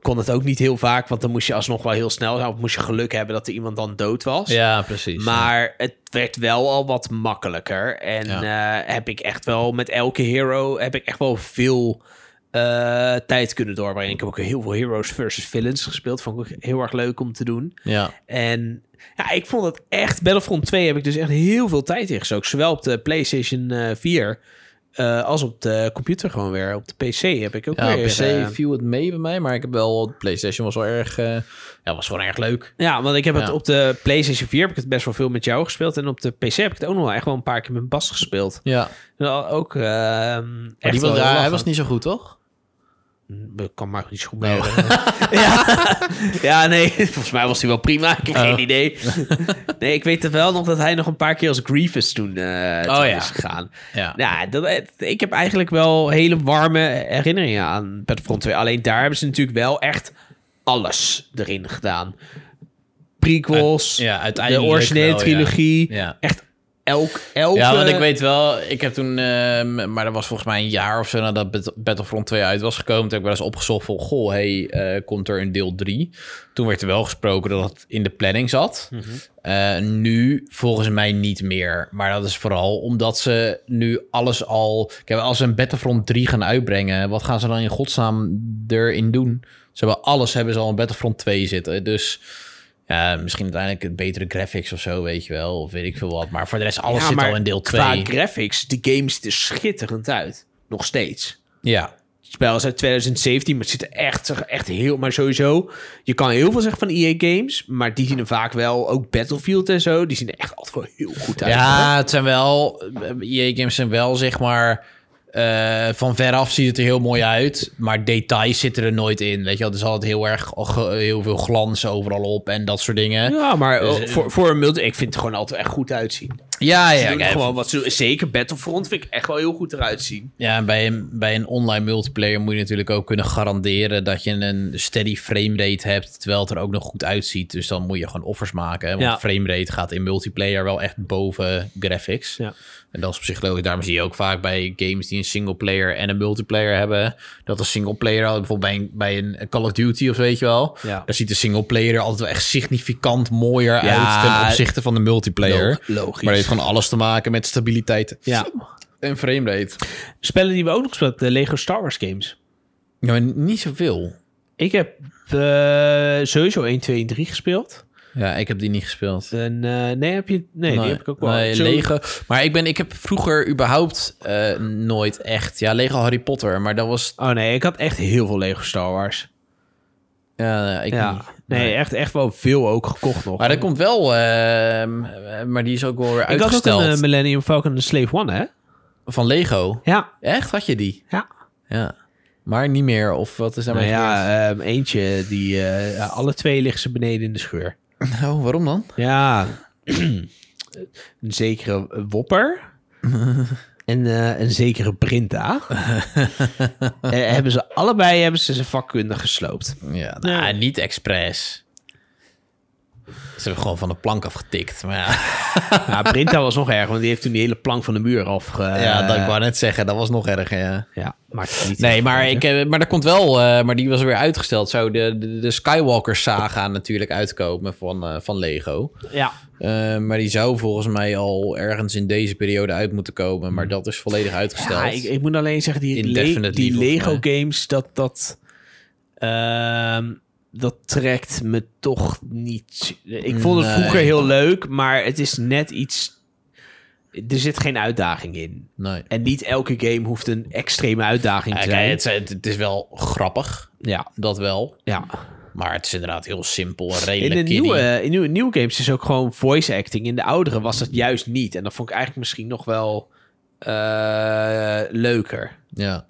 Speaker 2: kon het ook niet heel vaak. Want dan moest je alsnog wel heel snel zijn. Of moest je geluk hebben dat er iemand dan dood was.
Speaker 1: Ja, precies.
Speaker 2: Maar het werd wel al wat makkelijker. En eh, heb ik echt wel met elke hero heb ik echt wel veel eh, tijd kunnen doorbrengen. Ik heb ook heel veel heroes versus villains gespeeld. Vond ik ook heel erg leuk om te doen.
Speaker 1: ja.
Speaker 2: En ja, ik vond het echt... Battlefront 2 heb ik dus echt heel veel tijd in gestoken. Zowel op de PlayStation eh, 4 eh, als op de computer gewoon weer. Op de PC heb ik ook
Speaker 1: Ja,
Speaker 2: weer...
Speaker 1: op PC
Speaker 2: eh,
Speaker 1: viel het mee bij mij, maar ik heb wel... PlayStation was wel erg... eh, ja, was gewoon erg leuk.
Speaker 2: Ja, want ik heb het
Speaker 1: Ja.
Speaker 2: op de PlayStation 4 heb ik het best wel veel met jou gespeeld. En op de PC heb ik het ook nog wel echt wel een paar keer met Bas gespeeld.
Speaker 1: Ja,
Speaker 2: Nou, ook ehm,
Speaker 1: maar
Speaker 2: echt
Speaker 1: die was,
Speaker 2: wel
Speaker 1: ja,
Speaker 2: heel
Speaker 1: hij
Speaker 2: lachen.
Speaker 1: was niet zo goed, toch?
Speaker 2: Ik kan maar niet zo goed meer. Nou. [laughs] ja. ja, nee. Volgens mij was hij wel prima. Ik heb
Speaker 1: Oh.
Speaker 2: geen idee. nee, ik weet wel nog dat hij nog een paar keer als Grievous toen, eh toen
Speaker 1: Oh, ja.
Speaker 2: is gegaan.
Speaker 1: Ja.
Speaker 2: Ja, dat, het- ik heb eigenlijk wel hele warme herinneringen aan Battlefront 2. Alleen daar hebben ze natuurlijk wel echt alles erin gedaan. Prequels,
Speaker 1: Ja,
Speaker 2: de
Speaker 1: uiteindelijk
Speaker 2: originele
Speaker 1: wel, ja.
Speaker 2: trilogie.
Speaker 1: Ja.
Speaker 2: Echt elk, elke...
Speaker 1: Ja, want ik weet wel, ik heb toen, ehm, maar dat was volgens mij een jaar of zo nadat Bat- Battlefront 2 uit was gekomen. Toen heb ik wel eens opgezocht van, goh, hey, eh, komt er een deel 3? Toen werd er wel gesproken dat het in de planning zat. Eh, nu volgens mij niet meer. Maar dat is vooral omdat ze nu alles al... Kijk, als ze een Battlefront 3 gaan uitbrengen, wat gaan ze dan in godsnaam erin doen? Ze hebben alles hebben ze al in Battlefront 2 zitten, dus... ja, misschien uiteindelijk een betere graphics of zo, weet je wel. Of weet ik veel wat. Maar voor de rest, alles
Speaker 2: Ja,
Speaker 1: zit
Speaker 2: maar
Speaker 1: al in deel 2.
Speaker 2: Qua graphics, de game ziet er schitterend uit. Nog steeds.
Speaker 1: Ja.
Speaker 2: Het spel is uit 2017, maar het ziet er echt, echt heel... Maar sowieso, je kan heel veel zeggen van EA Games... maar die zien er vaak wel, ook Battlefield en zo... die zien er echt altijd wel heel goed uit.
Speaker 1: ja, het zijn wel... eh, EA Games zijn wel, zeg maar... eh, van veraf ziet het er heel mooi uit, maar details zitten er nooit in. Weet je wel, er is altijd heel erg ge- heel veel glans overal op en dat soort dingen.
Speaker 2: Ja, maar eh, voor, voor een multi... Ik vind het gewoon altijd echt goed uitzien.
Speaker 1: Dus, Ja,
Speaker 2: Ze
Speaker 1: ja,
Speaker 2: doen
Speaker 1: kijk,
Speaker 2: gewoon wat ze, zeker Battlefront vind ik echt wel heel goed eruit zien.
Speaker 1: ja bij, een, bij een online multiplayer moet je natuurlijk ook kunnen garanderen dat je een steady framerate hebt, terwijl het er ook nog goed uitziet. Dus dan moet je gewoon offers maken. hè, Want
Speaker 2: Ja.
Speaker 1: framerate gaat in multiplayer wel echt boven graphics.
Speaker 2: Ja.
Speaker 1: En dat is op zich logisch. Daarom zie je ook vaak bij games die een single player en een multiplayer hebben. Dat een single player, bijvoorbeeld bij een, bij een Call of Duty of zo, weet je wel.
Speaker 2: Ja.
Speaker 1: Daar ziet de single player er altijd wel echt significant mooier
Speaker 2: Ja,
Speaker 1: uit ten opzichte van de multiplayer.
Speaker 2: log- logisch.
Speaker 1: Maar dat heeft gewoon alles te maken met stabiliteit
Speaker 2: Ja.
Speaker 1: en framerate.
Speaker 2: Spellen die we ook nog spelen, de Lego Star Wars games.
Speaker 1: Ja, maar niet zoveel.
Speaker 2: Ik heb eh, sowieso 1, 2 en 3 gespeeld.
Speaker 1: Ja, ik heb die niet gespeeld.
Speaker 2: En, eh, nee, heb je, nee, die heb ik ook wel.
Speaker 1: Nee,
Speaker 2: Zo-
Speaker 1: Lego. Maar ik, ben, ik heb vroeger überhaupt eh, nooit echt... Ja, Lego Harry Potter, maar dat was...
Speaker 2: Oh nee, ik had echt heel veel Lego Star Wars.
Speaker 1: Ja, eh, ik
Speaker 2: ja.
Speaker 1: niet.
Speaker 2: Nee, echt, echt wel veel ook gekocht nog.
Speaker 1: Maar dat komt wel... ehm, eh, maar die is ook wel weer
Speaker 2: ik had ook
Speaker 1: uitgesteld.
Speaker 2: een eh, Millennium Falcon en Slave One, hè?
Speaker 1: Van Lego.
Speaker 2: Ja.
Speaker 1: Echt? Had je die?
Speaker 2: Ja.
Speaker 1: Ja. Maar niet meer. Of wat is
Speaker 2: Nou
Speaker 1: daarmee
Speaker 2: ja, ehm, eentje die... eh, ja, alle twee liggen ze beneden in de scheur.
Speaker 1: gebeurd? [laughs] Nou, waarom dan?
Speaker 2: Ja. [clears throat] een zekere Wopper.
Speaker 1: [laughs]
Speaker 2: en eh, een zekere Brinta. Eh, hebben ze allebei hebben ze zijn vakkunde gesloopt.
Speaker 1: Ja, nou,
Speaker 2: Nee.
Speaker 1: niet expres. Ze hebben gewoon van de plank afgetikt. Maar ja,
Speaker 2: Ja, Brinta was nog erg, want die heeft toen die hele plank van de muur af. eh,
Speaker 1: ja dat ik wou net zeggen. Dat was nog erger, ja.
Speaker 2: Ja, maakt niet
Speaker 1: Nee, maar, ik, eh, maar dat komt wel... eh, maar die was weer uitgesteld. Zou de, de, de Skywalker-saga natuurlijk uitkomen van, eh, van Lego.
Speaker 2: Ja.
Speaker 1: Eh, maar die zou volgens mij al ergens in deze periode uit moeten komen. Maar dat is volledig uitgesteld.
Speaker 2: Hmm. ja ik, ik moet alleen zeggen, die, Le-
Speaker 1: Indefinitely,
Speaker 2: die
Speaker 1: volgens
Speaker 2: Lego games, dat, dat, ehm, dat trekt me toch niet. Ik vond het
Speaker 1: Nee.
Speaker 2: vroeger heel leuk, maar het is net iets... Er zit geen uitdaging in.
Speaker 1: Nee.
Speaker 2: En niet elke game hoeft een extreme uitdaging te
Speaker 1: Ja,
Speaker 2: zijn.
Speaker 1: kijk, het, zijn- het is wel grappig,
Speaker 2: ja,
Speaker 1: dat wel.
Speaker 2: ja.
Speaker 1: Maar het is inderdaad heel simpel en
Speaker 2: In
Speaker 1: redelijk
Speaker 2: de
Speaker 1: kiddie.
Speaker 2: nieuwe, eh, in nieuwe, nieuwe games is ook gewoon voice acting. In de oudere was dat juist niet. En dat vond ik eigenlijk misschien nog wel eh, leuker.
Speaker 1: Ja.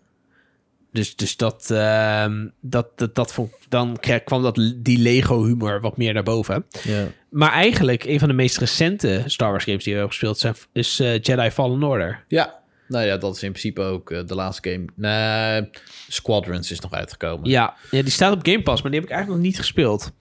Speaker 2: Dus, dus dat, ehm, dat, dat, dat vond, dan kreeg, kwam dat, die Lego-humor wat meer naar boven.
Speaker 1: ja.
Speaker 2: Maar eigenlijk, een van de meest recente Star Wars games die we hebben gespeeld zijn, is eh, Jedi Fallen Order.
Speaker 1: Ja, nou ja, dat is in principe ook eh, de laatste game. Nee, Squadrons is nog uitgekomen.
Speaker 2: Ja, ja, die staat op Game Pass, maar die heb ik eigenlijk nog niet gespeeld.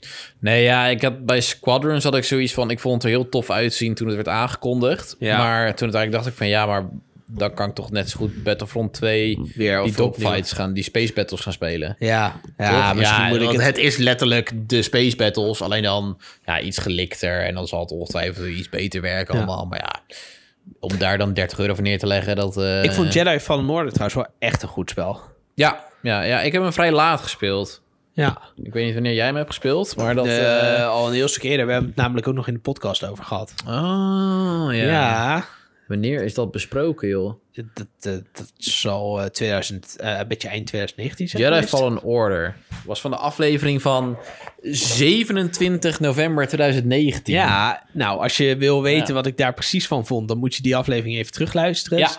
Speaker 1: Nee, ja, ik had, bij Squadrons had ik zoiets van... Ik vond het er heel tof uitzien toen het werd aangekondigd.
Speaker 2: Ja.
Speaker 1: Maar toen uiteindelijk dacht ik van... Ja, maar dan kan ik toch net zo goed Battlefront 2...
Speaker 2: Weer
Speaker 1: die dogfights gaan, die space battles gaan spelen.
Speaker 2: Ja, ja
Speaker 1: Toch?
Speaker 2: misschien
Speaker 1: Ja,
Speaker 2: moet ik
Speaker 1: want
Speaker 2: het...
Speaker 1: het... is letterlijk de space battles, alleen dan ja, iets gelikter. En dan zal het ongetwijfeld iets beter werken
Speaker 2: Ja.
Speaker 1: allemaal. Maar ja, om daar dan 30 euro voor neer te leggen, dat... eh,
Speaker 2: Ik vond Jedi Fallen Order trouwens wel echt een goed spel.
Speaker 1: Ja, ja, ja, ik heb hem vrij laat gespeeld.
Speaker 2: Ja,
Speaker 1: Ik weet niet wanneer jij hem hebt gespeeld, maar dat...
Speaker 2: Eh,
Speaker 1: eh,
Speaker 2: al een heel stuk eerder. We hebben het namelijk ook nog in de podcast over gehad.
Speaker 1: Oh, ja.
Speaker 2: Ja,
Speaker 1: Wanneer is dat besproken, joh?
Speaker 2: dat, dat, dat zal eh, 2000, eh, een beetje eind 2019 zijn
Speaker 1: Jedi
Speaker 2: geweest.
Speaker 1: Fallen Order was van de aflevering van 27 november 2019.
Speaker 2: Ja, nou, als je wil weten
Speaker 1: Ja.
Speaker 2: wat ik daar precies van vond, dan moet je die aflevering even terugluisteren.
Speaker 1: Ja.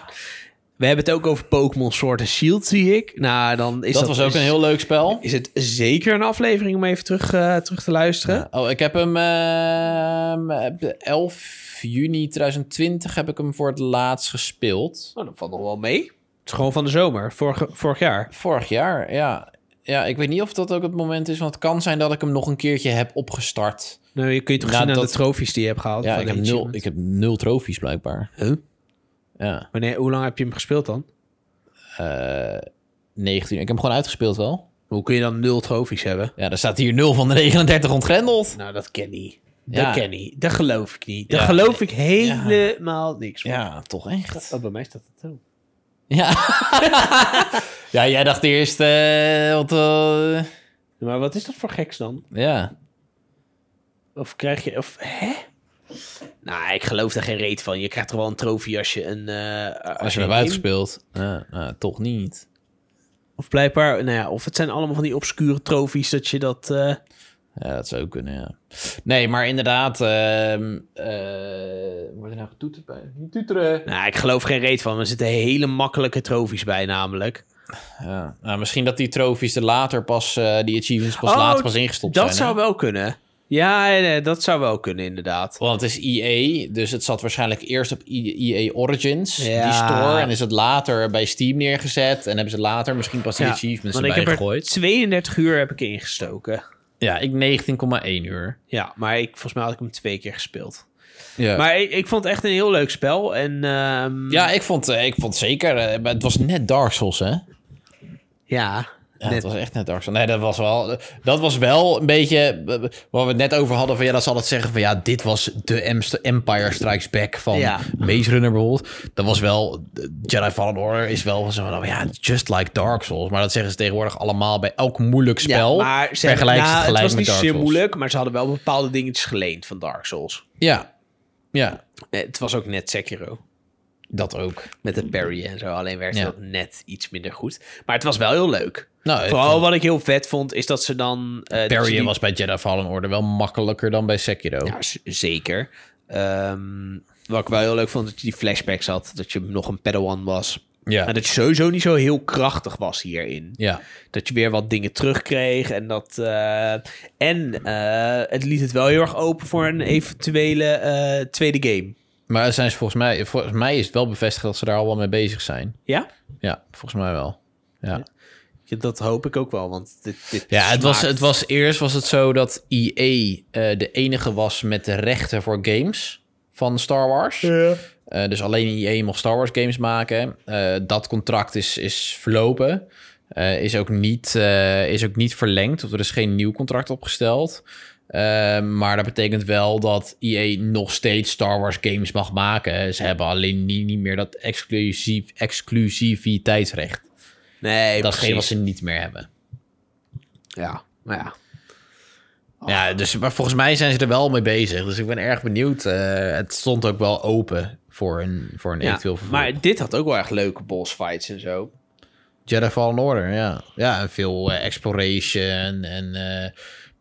Speaker 2: We hebben het ook over Pokémon Sword en Shield, zie ik. Nou, dan is
Speaker 1: Dat,
Speaker 2: dat,
Speaker 1: was ook
Speaker 2: is-
Speaker 1: een heel leuk spel.
Speaker 2: Is het zeker een aflevering om even terug, eh, terug te luisteren?
Speaker 1: Oh, ik heb hem ehm, op de 11 juni 2020 heb ik hem voor het laatst gespeeld.
Speaker 2: Oh, dat valt nog wel mee. Het is gewoon van de zomer, vorige, vorig jaar.
Speaker 1: Vorig jaar, ja. Ja, ik weet niet of dat ook het moment is, want het kan zijn dat ik hem nog een keertje heb opgestart.
Speaker 2: Nou, je kunt toch
Speaker 1: Nou,
Speaker 2: zien aan
Speaker 1: dat-
Speaker 2: de trofies die je hebt gehaald.
Speaker 1: Ja,
Speaker 2: van
Speaker 1: ik
Speaker 2: de
Speaker 1: heb, nul,
Speaker 2: achievement.
Speaker 1: ik heb nul trofies blijkbaar.
Speaker 2: Huh?
Speaker 1: Ja,
Speaker 2: Wanneer, hoe lang heb je hem gespeeld dan?
Speaker 1: eh, 19. Ik heb hem gewoon uitgespeeld wel.
Speaker 2: Hoe kun je dan nul trofies hebben?
Speaker 1: Ja, er staat hier 0 van de 39 ontgrendeld.
Speaker 2: Nou, dat ken niet.
Speaker 1: Ja.
Speaker 2: Dat ken niet. Dat geloof ik niet. Daar
Speaker 1: Ja.
Speaker 2: geloof ik helemaal niks van.
Speaker 1: Ja, toch echt.
Speaker 2: Oh, bij mij staat het zo.
Speaker 1: [laughs] Ja, ja jij dacht eerst... eh, wat, eh,
Speaker 2: Maar wat is dat voor geks dan?
Speaker 1: ja.
Speaker 2: Of krijg je... Of, hè? Nou, ik geloof daar geen reet van. Je krijgt toch wel een trofee als je een... eh,
Speaker 1: Als je
Speaker 2: een
Speaker 1: hem hebt
Speaker 2: game-
Speaker 1: uitgespeeld. Ja, nou, toch niet.
Speaker 2: Of blijkbaar... Nou ja, of het zijn allemaal van die obscure trofies dat je dat... eh,
Speaker 1: Ja, dat zou ook kunnen, ja. Nee, maar inderdaad... ehm eh, wordt er nou getoeterd bij? Niet toeteren!
Speaker 2: Nou, ik geloof geen reet van. Er zitten hele makkelijke trofies bij namelijk.
Speaker 1: Ja. Nou, misschien dat die trofies er later pas... eh, die achievements pas
Speaker 2: Oh,
Speaker 1: later pas ingestopt
Speaker 2: Dat
Speaker 1: zijn. hè?
Speaker 2: zou wel kunnen. Ja, nee, dat zou wel kunnen inderdaad.
Speaker 1: Want het is EA, dus het zat waarschijnlijk eerst op E EA Origins, die
Speaker 2: Ja.
Speaker 1: store. En is het later bij Steam neergezet. En hebben ze later misschien pas die achievements
Speaker 2: want ik
Speaker 1: erbij
Speaker 2: heb er
Speaker 1: gegooid.
Speaker 2: 32 uur heb ik ingestoken.
Speaker 1: Ja, ik 19,1 uur.
Speaker 2: Ja, maar ik, volgens mij had ik hem twee keer gespeeld.
Speaker 1: Ja.
Speaker 2: Maar ik, ik vond het echt een heel leuk spel. En, ehm,
Speaker 1: ja, ik vond, eh, ik vond zeker... eh, maar het was net Dark Souls, hè?
Speaker 2: ja,
Speaker 1: Ja,
Speaker 2: Net.
Speaker 1: dat was echt net Dark Souls. Nee, dat was wel, dat was wel een beetje eh, waar we het net over hadden. Van, ja, dat zal het zeggen van ja, dit was de Em- Empire Strikes Back van
Speaker 2: Ja.
Speaker 1: Maze Runner bijvoorbeeld. Dat was wel, eh, Jedi Fallen Order is wel zo van, oh ja, just like Dark Souls. Maar dat zeggen ze tegenwoordig allemaal bij elk moeilijk spel.
Speaker 2: Ja, maar ze hebben-
Speaker 1: vergelijken ze
Speaker 2: nou,
Speaker 1: het gelijk
Speaker 2: het
Speaker 1: met
Speaker 2: was niet
Speaker 1: Dark
Speaker 2: zeer
Speaker 1: Souls.
Speaker 2: moeilijk, maar ze hadden wel bepaalde dingetjes geleend van Dark Souls.
Speaker 1: Ja, ja,
Speaker 2: Eh, Het was ook net Sekiro.
Speaker 1: dat ook.
Speaker 2: Met de parry en zo. Alleen werkte
Speaker 1: Ja.
Speaker 2: dat net iets minder goed. Maar het was wel heel leuk.
Speaker 1: Nou, ik
Speaker 2: Vooral
Speaker 1: vond-
Speaker 2: wat ik heel vet vond, is dat ze dan... eh, dat ze
Speaker 1: Parryen
Speaker 2: die-
Speaker 1: was bij Jedi Fallen Order wel makkelijker dan bij Sekiro.
Speaker 2: Ja, z- zeker. Ehm, wat ik wel heel leuk vond, dat je die flashbacks had. Dat je nog een Padawan was.
Speaker 1: Ja,
Speaker 2: En dat je sowieso niet zo heel krachtig was hierin.
Speaker 1: ja.
Speaker 2: Dat je weer wat dingen terugkreeg. En, dat, eh, en eh, het liet het wel heel erg open voor een eventuele eh, tweede game.
Speaker 1: Maar zijn ze volgens mij, volgens mij is het wel bevestigd dat ze daar al wel mee bezig zijn.
Speaker 2: Ja?
Speaker 1: Ja, volgens mij wel. Ja,
Speaker 2: Ja, Dat hoop ik ook wel, want dit, dit
Speaker 1: ja het, was,
Speaker 2: smaakt-
Speaker 1: het was eerst was het zo dat EA eh, de enige was met de rechten voor games van Star Wars. Eh, dus alleen EA mocht Star Wars games maken. Eh, dat contract is, is verlopen. Eh, is, ook niet, eh, is ook niet verlengd. Of er is geen nieuw contract opgesteld. Eh, maar dat betekent wel dat EA nog steeds Star Wars games mag maken. Ze hebben alleen niet, niet meer dat exclusief, exclusiviteitsrecht.
Speaker 2: Nee,
Speaker 1: Dat is geen wat
Speaker 2: precies.
Speaker 1: ze niet meer hebben.
Speaker 2: Ja, maar ja.
Speaker 1: Ja, dus, maar volgens mij zijn ze er wel mee bezig. Dus ik ben erg benieuwd. Eh, het stond ook wel open voor een, voor een
Speaker 2: ja.
Speaker 1: eventueel vervolg.
Speaker 2: Maar dit had ook wel echt leuke boss fights en zo.
Speaker 1: Jedi Fallen Order, ja. Ja, en veel eh, exploration en eh,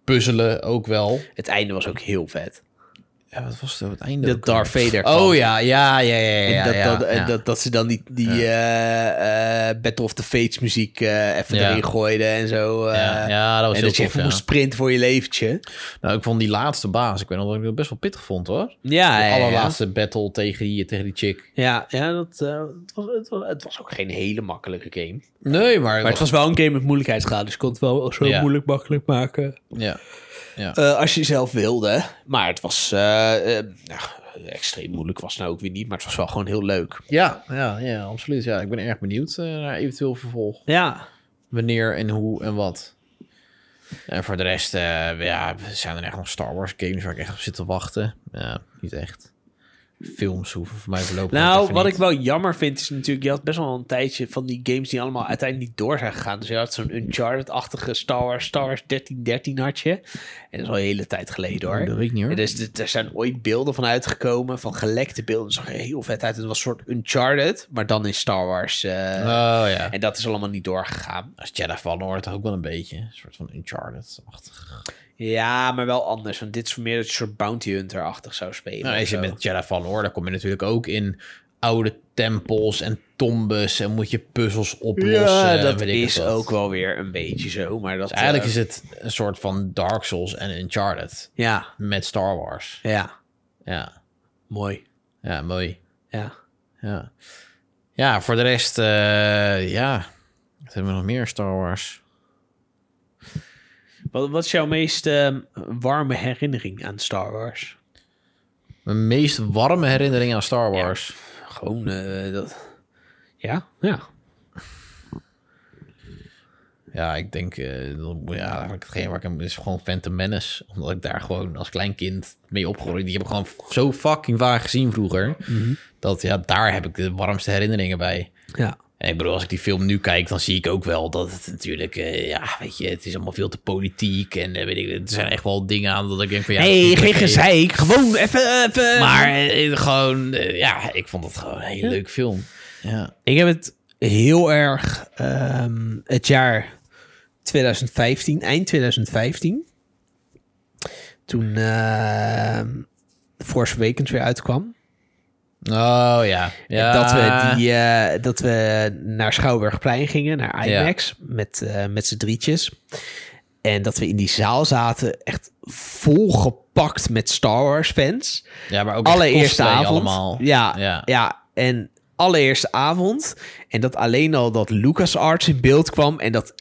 Speaker 1: puzzelen ook wel.
Speaker 2: Het einde was ook heel vet.
Speaker 1: Ja, wat was het op het einde?
Speaker 2: Dat
Speaker 1: ook alweer?
Speaker 2: Darth Vader kwam.
Speaker 1: Oh ja, ja, ja, ja, ja.
Speaker 2: En dat,
Speaker 1: ja,
Speaker 2: dat,
Speaker 1: ja.
Speaker 2: Dat, dat ze dan die, die eh, eh, Battle of the Fates muziek eh, even
Speaker 1: Ja.
Speaker 2: erin gooiden en zo. eh.
Speaker 1: Ja, ja, dat was
Speaker 2: en
Speaker 1: heel
Speaker 2: dat je
Speaker 1: tof,
Speaker 2: even
Speaker 1: ja.
Speaker 2: moest sprinten voor je leventje.
Speaker 1: Nou, ik vond die laatste baas, ik weet nog dat ik dat best wel pittig vond hoor.
Speaker 2: Ja,
Speaker 1: de
Speaker 2: ja, ja.
Speaker 1: allerlaatste battle tegen die, tegen die chick.
Speaker 2: Ja, ja, dat, eh, het, was, het, was, het was ook geen hele makkelijke game.
Speaker 1: Nee, maar...
Speaker 2: Maar het was wel een game met moeilijkheidsgraad, dus je kon het wel zo
Speaker 1: Ja.
Speaker 2: moeilijk makkelijk maken.
Speaker 1: Ja,
Speaker 2: Eh, als je zelf wilde. Maar het was eh, eh, nou, extreem moeilijk was het nou ook weer niet, maar het was wel gewoon heel leuk.
Speaker 1: ja, ja, ja absoluut. Ja, ik ben erg benieuwd eh, naar eventueel vervolg.
Speaker 2: Ja.
Speaker 1: wanneer en hoe en wat. En voor de rest, eh, ja, zijn er echt nog Star Wars games waar ik echt op zit te wachten? Ja, niet echt. Films hoeven voor mij voorlopig nog
Speaker 2: Nou,
Speaker 1: even
Speaker 2: wat
Speaker 1: niet.
Speaker 2: ik wel jammer vind is natuurlijk, je had best wel een tijdje van die games die allemaal uiteindelijk niet door zijn gegaan. Dus je had zo'n Uncharted-achtige Star Wars, Star Wars 1313 had je. En dat is al een hele tijd geleden hoor.
Speaker 1: Oh, dat weet ik niet hoor.
Speaker 2: En dus d- er zijn ooit beelden van uitgekomen, van gelekte beelden. Dat zag er heel vet uit. Het was een soort Uncharted, maar dan in Star Wars. eh,
Speaker 1: Oh ja.
Speaker 2: En dat is allemaal niet doorgegaan.
Speaker 1: Als Jedi Fallen Order toch ook wel een beetje. Een soort van Uncharted-achtig.
Speaker 2: Ja, maar wel anders. Want dit is meer dat je een soort bounty hunter-achtig zou spelen.
Speaker 1: Nou,
Speaker 2: of
Speaker 1: als je
Speaker 2: zo.
Speaker 1: met Jedi Fallen Order kom je natuurlijk ook in oude tempels en tombes en moet je puzzels oplossen.
Speaker 2: ja,
Speaker 1: en
Speaker 2: dat
Speaker 1: eh, weet ik het
Speaker 2: is
Speaker 1: wat.
Speaker 2: ook wel weer een beetje zo. Maar dat,
Speaker 1: Dus eigenlijk
Speaker 2: eh,
Speaker 1: is het een soort van Dark Souls en Uncharted
Speaker 2: Ja,
Speaker 1: met Star Wars.
Speaker 2: ja.
Speaker 1: Ja,
Speaker 2: Mooi.
Speaker 1: ja mooi.
Speaker 2: Ja.
Speaker 1: Ja. Ja, voor de rest, eh, ja. Wat hebben we nog meer Star Wars?
Speaker 2: Wat, wat is jouw meest ehm, warme herinnering aan Star Wars?
Speaker 1: Mijn meest warme herinnering aan Star Wars.
Speaker 2: Gewoon eh, dat... Ja? Ja.
Speaker 1: Ja, ik denk, eh, dan- ja, eigenlijk hetgeen waar ik hem is gewoon Phantom Menace. Omdat ik daar gewoon als klein kind mee opgegroeid. Die heb ik gewoon zo fucking vaak gezien vroeger. Dat ja, daar heb ik de warmste herinneringen bij.
Speaker 2: Ja.
Speaker 1: En ik bedoel, als ik die film nu kijk, dan zie ik ook wel dat het natuurlijk, eh, ja, weet je, het is allemaal veel te politiek. En eh, weet ik, er zijn echt wel dingen aan dat ik denk van ja.
Speaker 2: hey,
Speaker 1: dat-
Speaker 2: geen
Speaker 1: oké.
Speaker 2: gezeik. Gewoon even... even-
Speaker 1: Maar eh, eh, gewoon, eh, ja, ik vond het gewoon een heel leuk film. Ja.
Speaker 2: Ik heb het heel erg ehm, het jaar 2015, eind 2015. Toen ehm Force Awakens weer uitkwam.
Speaker 1: Oh ja. ja.
Speaker 2: Dat, we die, eh, dat we naar Schouwburgplein gingen, naar
Speaker 1: Ja.
Speaker 2: IMAX, met, eh, met z'n drietjes. En dat we in die zaal zaten, echt volgepakt met Star Wars fans
Speaker 1: ja, maar ook echt
Speaker 2: allereerste
Speaker 1: cosplay
Speaker 2: avond.
Speaker 1: allemaal.
Speaker 2: Ja,
Speaker 1: Ja.
Speaker 2: ja. en allereerste avond. En dat alleen al dat LucasArts in beeld kwam. En dat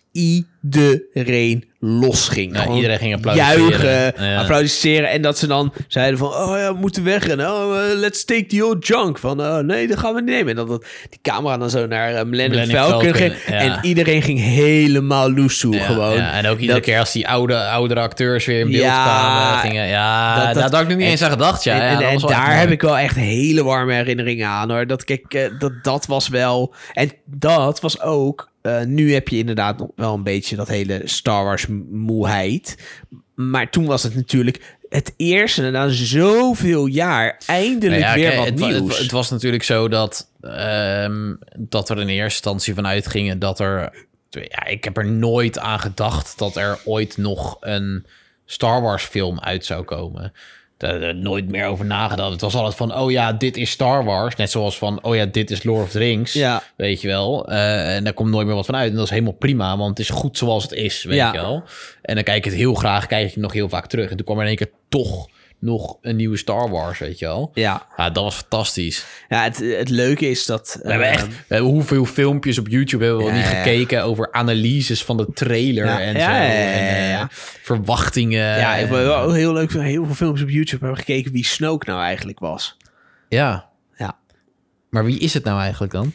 Speaker 2: iedereen losging.
Speaker 1: Ja,
Speaker 2: Gewoon
Speaker 1: iedereen ging applaudisseren.
Speaker 2: juichen,
Speaker 1: Ja.
Speaker 2: applaudisseren. En dat ze dan zeiden van, oh ja, we moeten weg. En oh, eh, let's take the old junk. Van, oh, nee, dat gaan we niet nemen. En dat, dat die camera dan zo naar eh, Millennium,
Speaker 1: Millennium
Speaker 2: Falcon,
Speaker 1: Falcon,
Speaker 2: ging.
Speaker 1: ja.
Speaker 2: En iedereen ging helemaal loesoe
Speaker 1: Ja,
Speaker 2: gewoon.
Speaker 1: ja, en ook iedere
Speaker 2: Dat-
Speaker 1: keer als die oude, oudere acteurs weer in beeld
Speaker 2: Ja,
Speaker 1: kwamen. Gingen, ja,
Speaker 2: dat- dat-
Speaker 1: daar had ik nog niet
Speaker 2: en-
Speaker 1: eens aan gedacht. Ja,
Speaker 2: en
Speaker 1: ja,
Speaker 2: en-
Speaker 1: dat
Speaker 2: en
Speaker 1: was wel echt
Speaker 2: daar
Speaker 1: mooi.
Speaker 2: heb ik wel echt hele warme herinneringen aan hoor. Dat, kijk, eh, dat, dat was wel. En dat was ook. eh, nu heb je inderdaad nog wel een beetje dat hele Star Wars moeheid. Maar toen was het natuurlijk het eerste na zoveel jaar eindelijk
Speaker 1: Nou ja,
Speaker 2: weer
Speaker 1: kijk,
Speaker 2: wat
Speaker 1: het, wa-
Speaker 2: nieuws.
Speaker 1: Het, wa- het was natuurlijk zo dat, ehm, dat er in eerste instantie van uitgingen dat er... Ja, ik heb er nooit aan gedacht dat er ooit nog een Star Wars film uit zou komen. Daar heb ik nooit meer over nagedacht. Het was altijd van, oh ja, dit is Star Wars. Net zoals van, oh ja, dit is Lord of the Rings.
Speaker 2: Ja.
Speaker 1: Weet je wel. Eh, en daar komt nooit meer wat van uit. En dat is helemaal prima, want het is goed zoals het is. Weet
Speaker 2: Ja.
Speaker 1: je wel. En dan kijk ik het heel graag, kijk ik het nog heel vaak terug. En toen kwam er in één keer toch nog een nieuwe Star Wars, weet je wel.
Speaker 2: ja,
Speaker 1: Ja, dat was fantastisch.
Speaker 2: ja het, het leuke is dat. eh,
Speaker 1: We hebben echt we hebben hoeveel filmpjes op YouTube hebben we al
Speaker 2: Ja,
Speaker 1: niet
Speaker 2: ja, ja.
Speaker 1: gekeken over analyses van de trailer
Speaker 2: Ja,
Speaker 1: en
Speaker 2: ja,
Speaker 1: zo.
Speaker 2: ja, ja,
Speaker 1: en, eh,
Speaker 2: ja.
Speaker 1: verwachtingen.
Speaker 2: ja, ik
Speaker 1: en-
Speaker 2: heb wel ook heel leuk heel veel films op YouTube hebben gekeken wie Snoke nou eigenlijk was.
Speaker 1: ja.
Speaker 2: Ja.
Speaker 1: Maar wie is het nou eigenlijk dan?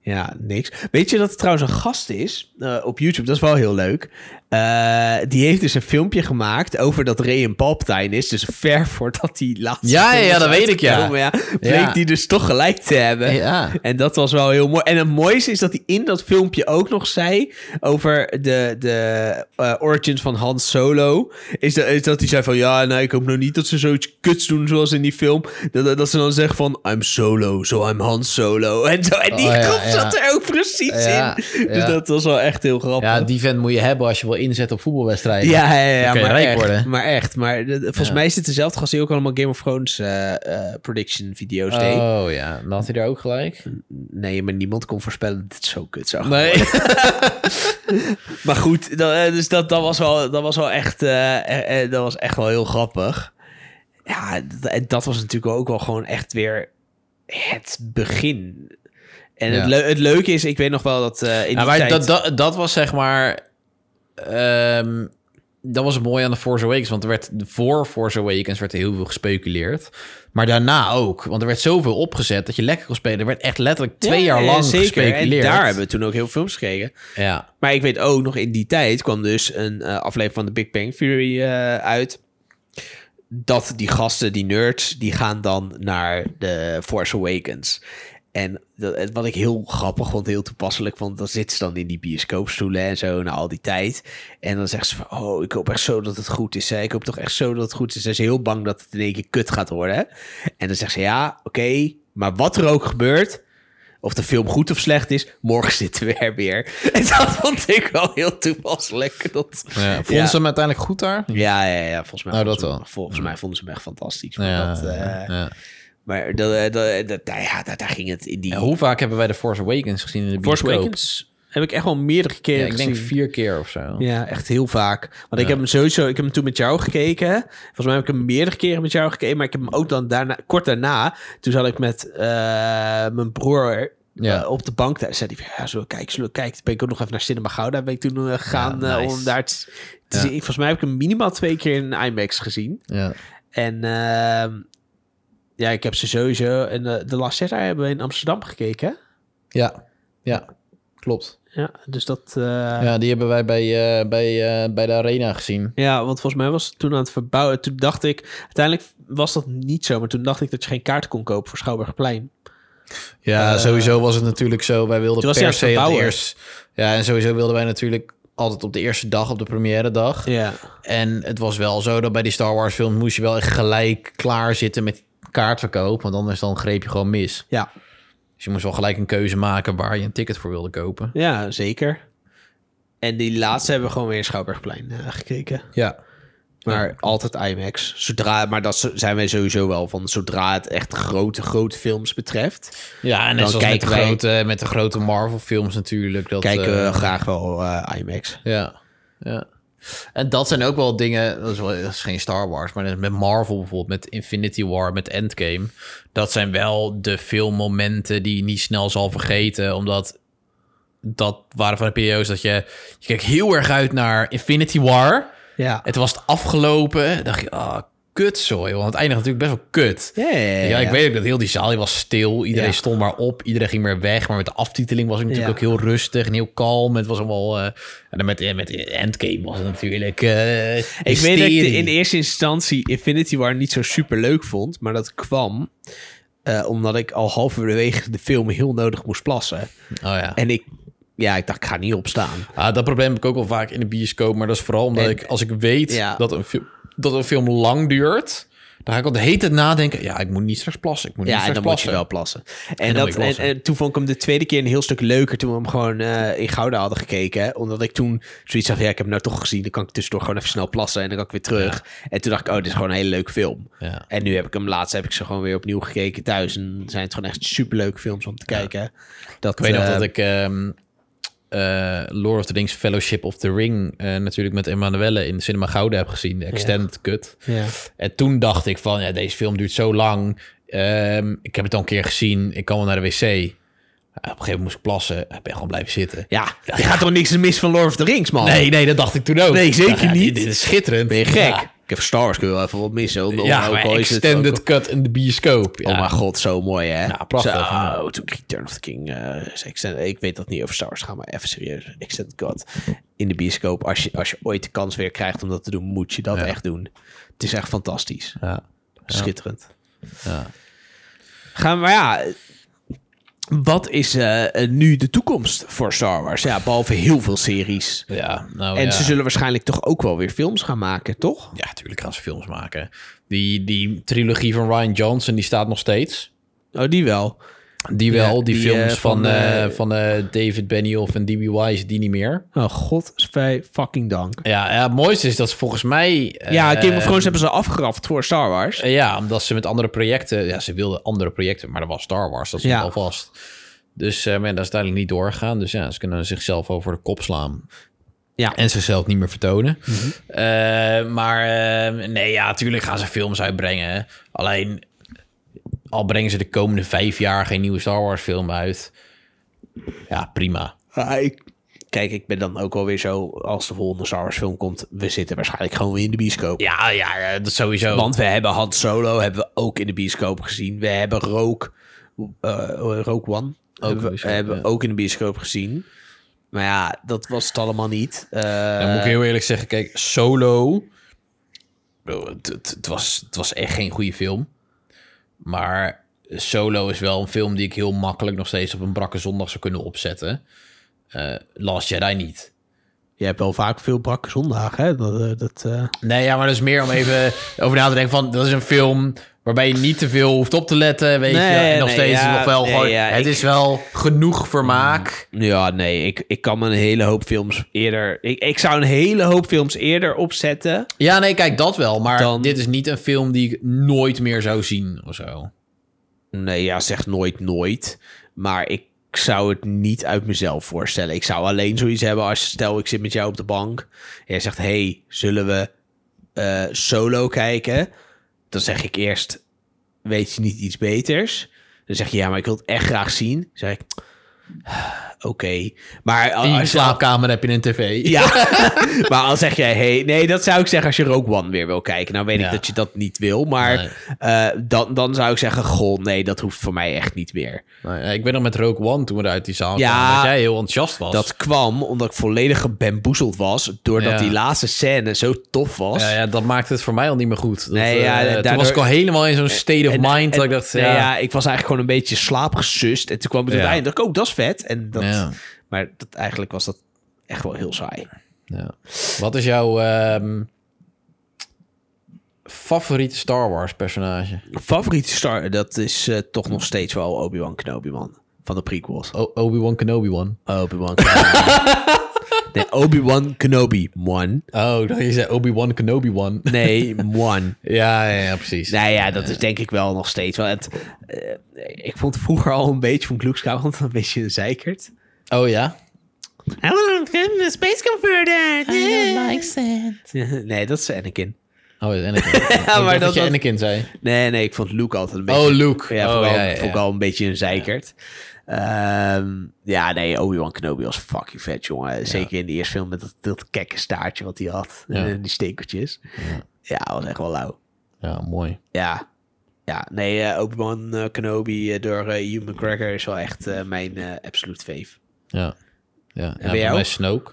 Speaker 2: Ja, niks. Weet je dat er trouwens een gast is eh, op YouTube? Dat is wel heel leuk. Eh, die heeft dus een filmpje gemaakt over dat Ray een Palpatine is. Dus ver [laughs] voordat die laatste...
Speaker 1: Ja,
Speaker 2: film
Speaker 1: ja,
Speaker 2: was
Speaker 1: dat weet ik, ja.
Speaker 2: uitgekomen, bleek
Speaker 1: Ja.
Speaker 2: die dus toch gelijk te hebben.
Speaker 1: Ja.
Speaker 2: En dat was wel heel mooi. En het mooiste is dat hij in dat filmpje ook nog zei over de, de eh, origins van Han Solo. Is dat, is dat hij zei van, ja, nou, ik hoop nou niet dat ze zoiets kuts doen zoals in die film. Dat, dat, dat ze dan zeggen van, I'm Solo, so I'm Han Solo. En, zo, en die
Speaker 1: Oh, ja,
Speaker 2: kop
Speaker 1: ja.
Speaker 2: zat er ook precies
Speaker 1: Ja,
Speaker 2: in. Dus
Speaker 1: ja.
Speaker 2: dat was wel echt heel grappig.
Speaker 1: Ja, die vent moet je hebben als je wil inzetten op voetbalwedstrijden.
Speaker 2: Ja, ja, ja,
Speaker 1: Dan kun je
Speaker 2: maar,
Speaker 1: rijk
Speaker 2: echt,
Speaker 1: worden.
Speaker 2: maar echt. Maar de- de- volgens
Speaker 1: Ja.
Speaker 2: mij is het dezelfde gast die ook allemaal Game of Thrones eh, eh, prediction video's deed.
Speaker 1: Oh ja, dan had hij er ook gelijk.
Speaker 2: Nee, maar niemand kon voorspellen dat het zo kut zou gaan.
Speaker 1: Nee.
Speaker 2: Maar goed, dat, eh, dus dat, dat, was wel, dat was wel echt, eh, eh, eh, dat was echt wel heel grappig. Ja, dat, en dat was natuurlijk ook wel gewoon echt weer het begin. En
Speaker 1: Ja.
Speaker 2: het, leu- het leuke is, ik weet nog wel dat eh, in die
Speaker 1: Ja, Nou, maar
Speaker 2: tijd...
Speaker 1: dat, dat, dat was zeg maar. ehm, dat was het mooie aan de Force Awakens. Want er werd voor Force Awakens werd er heel veel gespeculeerd. Maar daarna ook. Want er werd zoveel opgezet dat je lekker kon spelen. Er werd echt letterlijk twee
Speaker 2: Ja,
Speaker 1: jaar
Speaker 2: ja,
Speaker 1: lang
Speaker 2: zeker. En
Speaker 1: gespeculeerd.
Speaker 2: daar hebben we toen ook heel veel films gekregen.
Speaker 1: Ja,
Speaker 2: Maar ik weet ook nog, in die tijd kwam dus een eh, aflevering van de Big Bang Theory eh, uit. Dat die gasten, die nerds, die gaan dan naar de Force Awakens. En dat, het- wat ik heel grappig vond, heel toepasselijk, want dan zitten ze dan in die bioscoopstoelen en zo na al die tijd. En dan zegt ze van, oh, ik hoop echt zo dat het goed is. Hè? Ik hoop toch echt zo dat het goed is. Ze is heel bang dat het in één keer kut gaat worden. hè. En dan zegt ze, ja, oké, maar wat er ook gebeurt, of de film goed of slecht is, morgen [laughs] zitten we er weer. En dat vond ik wel heel toepasselijk. Dat,
Speaker 1: ja. Vonden
Speaker 2: Ja.
Speaker 1: ze hem uiteindelijk goed daar?
Speaker 2: ja, ja, ja, volgens mij,
Speaker 1: Nou,
Speaker 2: vonden
Speaker 1: dat
Speaker 2: ze-
Speaker 1: wel.
Speaker 2: volgens mij vonden ze hem echt fantastisch. Maar,
Speaker 1: Ja,
Speaker 2: dat, eh,
Speaker 1: ja.
Speaker 2: maar dat, eh, dat, dat- nou ja, daar, daar ging het in die...
Speaker 1: En hoe vaak hebben wij de Force Awakens gezien in de bioscoop?
Speaker 2: Force Awakens heb ik echt wel meerdere keren
Speaker 1: Ja, ik denk
Speaker 2: gezien.
Speaker 1: vier keer of zo.
Speaker 2: Ja, echt heel vaak. Want ik heb hem sowieso, ik heb hem toen met jou gekeken. Volgens mij heb ik hem meerdere keren met jou gekeken. Maar ik heb hem ook dan daarna, kort daarna, toen zat ik met eh, mijn broer
Speaker 1: Ja.
Speaker 2: eh, op de bank. Daar zei hij, van, ja, zullen we kijken, zullen we kijken. Toen ben ik ook nog even naar Cinema Gouda ben ik toen eh, gegaan
Speaker 1: Ja,
Speaker 2: eh,
Speaker 1: nice.
Speaker 2: om daar te, te
Speaker 1: Ja.
Speaker 2: zien. Volgens mij heb ik hem minimaal twee keer in IMAX gezien.
Speaker 1: Ja.
Speaker 2: En ehm, ja, ik heb ze sowieso. En eh, de Last Jedi hebben we in Amsterdam gekeken.
Speaker 1: ja. ja. Klopt.
Speaker 2: Ja, dus dat... eh,
Speaker 1: Ja, die hebben wij bij, eh, bij, eh, bij de Arena gezien.
Speaker 2: Ja, want volgens mij was het toen aan het verbouwen. Toen dacht ik, uiteindelijk was dat niet zo, maar toen dacht ik dat je geen kaart kon kopen voor Schouwburgplein.
Speaker 1: Ja,
Speaker 2: Eh,
Speaker 1: sowieso was het natuurlijk zo. Wij wilden
Speaker 2: toen was
Speaker 1: per
Speaker 2: hij
Speaker 1: se
Speaker 2: aan het
Speaker 1: op de
Speaker 2: verbouwen.
Speaker 1: eerste... Ja, en sowieso wilden wij natuurlijk altijd op de eerste dag, op de première dag.
Speaker 2: Ja.
Speaker 1: En het was wel zo dat bij die Star Wars film moest je wel echt gelijk klaar zitten met kaartverkoop. Want anders dan greep je gewoon mis.
Speaker 2: Ja,
Speaker 1: Dus je moest wel gelijk een keuze maken waar je een ticket voor wilde kopen.
Speaker 2: ja zeker. En die laatste hebben we gewoon weer in Schouwburgplein eh, gekeken.
Speaker 1: Ja.
Speaker 2: Maar altijd IMAX. Zodra, maar dat zo- zijn wij sowieso wel van. Zodra het echt grote, grote films betreft,
Speaker 1: Ja, en
Speaker 2: Dan
Speaker 1: net zoals met de,
Speaker 2: kijken wij-
Speaker 1: grote, met de grote Marvel films natuurlijk. Dat,
Speaker 2: kijken we
Speaker 1: eh,
Speaker 2: graag wel eh, IMAX.
Speaker 1: Ja, ja. En dat zijn ook wel dingen, dat is, wel, dat is geen Star Wars, maar met Marvel bijvoorbeeld, met Infinity War, met Endgame. Dat zijn wel de filmmomenten die je niet snel zal vergeten, omdat dat waren van de periodes dat je... Je keek heel erg uit naar Infinity War.
Speaker 2: Ja.
Speaker 1: Het was het afgelopen. dacht je, ah, kut zo, joh. Want het eindigt natuurlijk best wel kut.
Speaker 2: Ja, ja, ja,
Speaker 1: Ja, ik
Speaker 2: ja.
Speaker 1: weet ook dat heel die zaal die was stil. Iedereen
Speaker 2: Eh, Ja.
Speaker 1: stond maar op. Iedereen ging maar weg. Maar met de aftiteling was ik natuurlijk
Speaker 2: Ja.
Speaker 1: ook heel rustig en heel kalm. Het was allemaal... eh, en dan met, eh, met Endgame was het natuurlijk... eh,
Speaker 2: Ik weet dat ik de-
Speaker 1: hysterie.
Speaker 2: in eerste instantie Infinity War niet zo super leuk vond, maar dat kwam eh, omdat ik al halverwege de film heel nodig moest plassen.
Speaker 1: Oh ja.
Speaker 2: En ik, ja, ik dacht, ik ga niet opstaan.
Speaker 1: Ah, dat probleem heb ik ook wel vaak in de bioscoop. Maar dat is vooral omdat
Speaker 2: En-
Speaker 1: ik, als ik weet
Speaker 2: Ja.
Speaker 1: dat, een film, dat een film lang duurt, dan ga ik al de hele tijd nadenken. Ja, ik moet niet straks plassen. Ik moet niet
Speaker 2: Ja, en
Speaker 1: straks
Speaker 2: dan
Speaker 1: plassen.
Speaker 2: moet je wel plassen. En,
Speaker 1: dan moet
Speaker 2: dat,
Speaker 1: je plassen.
Speaker 2: En, en toen vond ik hem de tweede keer een heel stuk leuker toen we hem gewoon eh, in Gouda hadden gekeken. hè. Omdat ik toen zoiets had, ja, ik heb hem nou toch gezien. Dan kan ik tussendoor gewoon even snel plassen en dan kan ik weer terug. En toen dacht ik, oh, dit is gewoon een hele leuke film.
Speaker 1: Ja.
Speaker 2: En nu heb ik hem laatst heb ik ze gewoon weer opnieuw gekeken thuis. En zijn het gewoon echt superleuke films om te kijken. Dat,
Speaker 1: Ik weet nog
Speaker 2: eh,
Speaker 1: dat ik ehm, eh, Lord of the Rings Fellowship of the Ring eh, natuurlijk met Emanuelle in Cinema Gouden heb gezien. De extended cut.
Speaker 2: Ja.
Speaker 1: En toen dacht ik van, ja, deze film duurt zo lang. Ehm, ik heb het al een keer gezien. Ik kan wel naar de wc. Op een gegeven moment moest ik plassen. Ik ben gewoon blijven zitten.
Speaker 2: Ja, je gaat toch niks mis van Lord of the Rings, man?
Speaker 1: Nee, nee, dat dacht ik toen ook.
Speaker 2: Nee, zeker
Speaker 1: Ik dacht, ja,
Speaker 2: niet.
Speaker 1: Dit, dit is schitterend.
Speaker 2: Ben je gek?
Speaker 1: Ja.
Speaker 2: Ik heb Star Wars kun je wel even wat missen. om- om-
Speaker 1: Ja,
Speaker 2: ook
Speaker 1: maar
Speaker 2: al is het-
Speaker 1: extended cut in de bioscoop. Ja.
Speaker 2: Oh mijn god, zo mooi hè?
Speaker 1: Ja, prachtig,
Speaker 2: Zo,
Speaker 1: ja.
Speaker 2: toen ik Return of the King... eh, zei ik, Extended- ik weet dat het niet over Star Wars gaat, maar even serieus. Extended God in de bioscoop. Als je, als je ooit de kans weer krijgt om dat te doen, moet je dat
Speaker 1: Ja.
Speaker 2: echt doen. Het is echt fantastisch.
Speaker 1: Ja.
Speaker 2: Schitterend.
Speaker 1: Ja.
Speaker 2: Gaan we, maar ja... Wat is eh, eh, nu de toekomst voor Star Wars? Ja, behalve heel veel series.
Speaker 1: Ja, nou
Speaker 2: en
Speaker 1: ja.
Speaker 2: ze zullen waarschijnlijk toch ook wel weer films gaan maken, toch?
Speaker 1: Ja, natuurlijk gaan ze films maken. Die, die trilogie van Ryan Johnson, die staat nog steeds.
Speaker 2: Oh, die wel.
Speaker 1: Die
Speaker 2: Ja,
Speaker 1: wel, die,
Speaker 2: die,
Speaker 1: films
Speaker 2: eh,
Speaker 1: van,
Speaker 2: van,
Speaker 1: eh,
Speaker 2: eh,
Speaker 1: van eh, David Benioff en D.B. Wise, die niet meer.
Speaker 2: Oh, god, vij- fucking dank.
Speaker 1: Ja, ja, het mooiste is dat ze volgens mij... eh,
Speaker 2: Ja, Game of Thrones hebben ze afgeraft voor Star Wars.
Speaker 1: eh, Ja, omdat ze met andere projecten... Ja, ze wilden andere projecten, maar dat was Star Wars. Dat stond
Speaker 2: Ja.
Speaker 1: al vast. Dus eh, maar ja, dat is duidelijk niet doorgegaan. Dus ja, ze kunnen zichzelf over de kop slaan.
Speaker 2: Ja.
Speaker 1: En zichzelf niet meer vertonen. Eh, maar eh, nee, ja, natuurlijk gaan ze films uitbrengen. Alleen, al brengen ze de komende vijf jaar geen nieuwe Star Wars film uit. Ja, prima.
Speaker 2: Ah, ik- Kijk, ik ben dan ook alweer zo, als de volgende Star Wars film komt, we zitten waarschijnlijk gewoon weer in de bioscoop.
Speaker 1: Ja, ja, ja, dat sowieso.
Speaker 2: Want we hebben Han Solo hebben we ook in de bioscoop gezien. We hebben Rogue, eh Rogue One
Speaker 1: in de
Speaker 2: hebben, we-
Speaker 1: bioscoop,
Speaker 2: hebben we
Speaker 1: ja.
Speaker 2: ook in de bioscoop gezien. Maar ja, dat was het allemaal niet. Eh,
Speaker 1: Dan moet ik heel eerlijk zeggen, kijk, Solo... oh, Het, het, het was, het was echt geen goede film. Maar Solo is wel een film die ik heel makkelijk nog steeds op een brakke zondag zou kunnen opzetten. Eh Last Jedi niet.
Speaker 2: Je hebt wel vaak veel brakke zondagen, hè? Dat, eh, dat, eh,
Speaker 1: Nee, ja, maar dat is meer om even [laughs] over na te denken van... dat is een film waarbij je niet te veel hoeft op te letten, weet
Speaker 2: Nee,
Speaker 1: je. En nog
Speaker 2: nee,
Speaker 1: steeds
Speaker 2: ja,
Speaker 1: nog wel
Speaker 2: nee,
Speaker 1: gewoon...
Speaker 2: ja,
Speaker 1: het
Speaker 2: ik- Mm.
Speaker 1: is wel genoeg vermaak.
Speaker 2: Ja, nee, ik, ik kan me een hele hoop films eerder... Ik, ik zou een hele hoop films eerder opzetten.
Speaker 1: Ja, nee, kijk, dat wel. Maar
Speaker 2: Dan-
Speaker 1: dit is niet een film die ik nooit meer zou zien of zo.
Speaker 2: Nee, ja, zeg nooit nooit. Maar ik zou het niet uit mezelf voorstellen. Ik zou alleen zoiets hebben als, stel ik zit met jou op de bank... en jij zegt, hey, zullen we eh, solo kijken? Dan zeg ik eerst, weet je niet iets beters? Dan zeg je, ja, maar ik wil het echt graag zien. Dan zeg ik, [sighs] oké. Maar
Speaker 1: In je
Speaker 2: Ah, als je
Speaker 1: slaapkamer heb je een tv.
Speaker 2: [laughs] Ja, maar al zeg jij, hey, nee, dat zou ik zeggen als je Rogue One weer wil kijken. Nou weet
Speaker 1: Ja.
Speaker 2: ik dat je dat niet wil, maar
Speaker 1: Nee.
Speaker 2: eh, dan, dan zou ik zeggen, goh, nee, dat hoeft voor mij echt niet meer.
Speaker 1: Nou ja, ik ben nog met Rogue One toen we uit die zaal
Speaker 2: Ja.
Speaker 1: kwamen... dat jij heel enthousiast was.
Speaker 2: Dat kwam omdat ik volledig gebamboezeld was, doordat
Speaker 1: Ja.
Speaker 2: die laatste scène zo tof was.
Speaker 1: ja, ja, dat maakte het voor mij al niet meer goed. Dat,
Speaker 2: Nee,
Speaker 1: eh,
Speaker 2: ja,
Speaker 1: toen
Speaker 2: daardoor-
Speaker 1: was ik al helemaal in zo'n state of mind. dat ik dacht,
Speaker 2: nee,
Speaker 1: ja,
Speaker 2: ik was eigenlijk gewoon een beetje slaapgesust. En toen kwam ik tot
Speaker 1: Ja.
Speaker 2: het einde, dacht ik, oh, dat is vet. En dat,
Speaker 1: Ja.
Speaker 2: Maar dat, eigenlijk was dat echt wel heel saai.
Speaker 1: Ja. Wat is jouw ehm, favoriete Star Wars personage?
Speaker 2: Favoriete star, dat is eh, toch nog steeds wel Obi-Wan Kenobi, man. Van de prequels.
Speaker 1: O- Obi-Wan Kenobi One.
Speaker 2: Obi-Wan Kenobi. nee, Obi-Wan Kenobi. One.
Speaker 1: Oh, dat je zei Obi-Wan Kenobi One.
Speaker 2: Nee, one.
Speaker 1: [laughs] ja, ja, ja, precies.
Speaker 2: Nou ja, dat is denk ik wel nog steeds wel. Het, eh, ik vond vroeger al een beetje van Luke Skywalker een beetje een zeikert.
Speaker 1: Oh ja?
Speaker 2: Space Comforter.
Speaker 3: like sand.
Speaker 2: Nee, dat is Anakin.
Speaker 1: Oh, [laughs] is Anakin. Ik dacht
Speaker 2: dat
Speaker 1: dat je
Speaker 2: was-
Speaker 1: Anakin zei.
Speaker 2: Nee, nee, ik vond Luke altijd een beetje...
Speaker 1: Oh, Luke.
Speaker 2: Ja,
Speaker 1: Oh,
Speaker 2: vooral,
Speaker 1: ja, ja, ja.
Speaker 2: vond ik al een beetje een zeikert. Ehm, ja, nee, Obi-Wan Kenobi was fucking vet, jongen. Zeker in de eerste film met dat, dat kekke staartje wat hij had.
Speaker 1: Ja.
Speaker 2: En die stekeltjes. Ja. was echt wel lauw.
Speaker 1: Ja, mooi.
Speaker 2: Ja. Ja, nee, eh, Obi-Wan eh, Kenobi eh, door eh Hugh McGregor is wel echt eh, mijn eh absolute fave.
Speaker 1: Ja. Ja, ja
Speaker 2: bij jou?
Speaker 1: bij mij Snoke.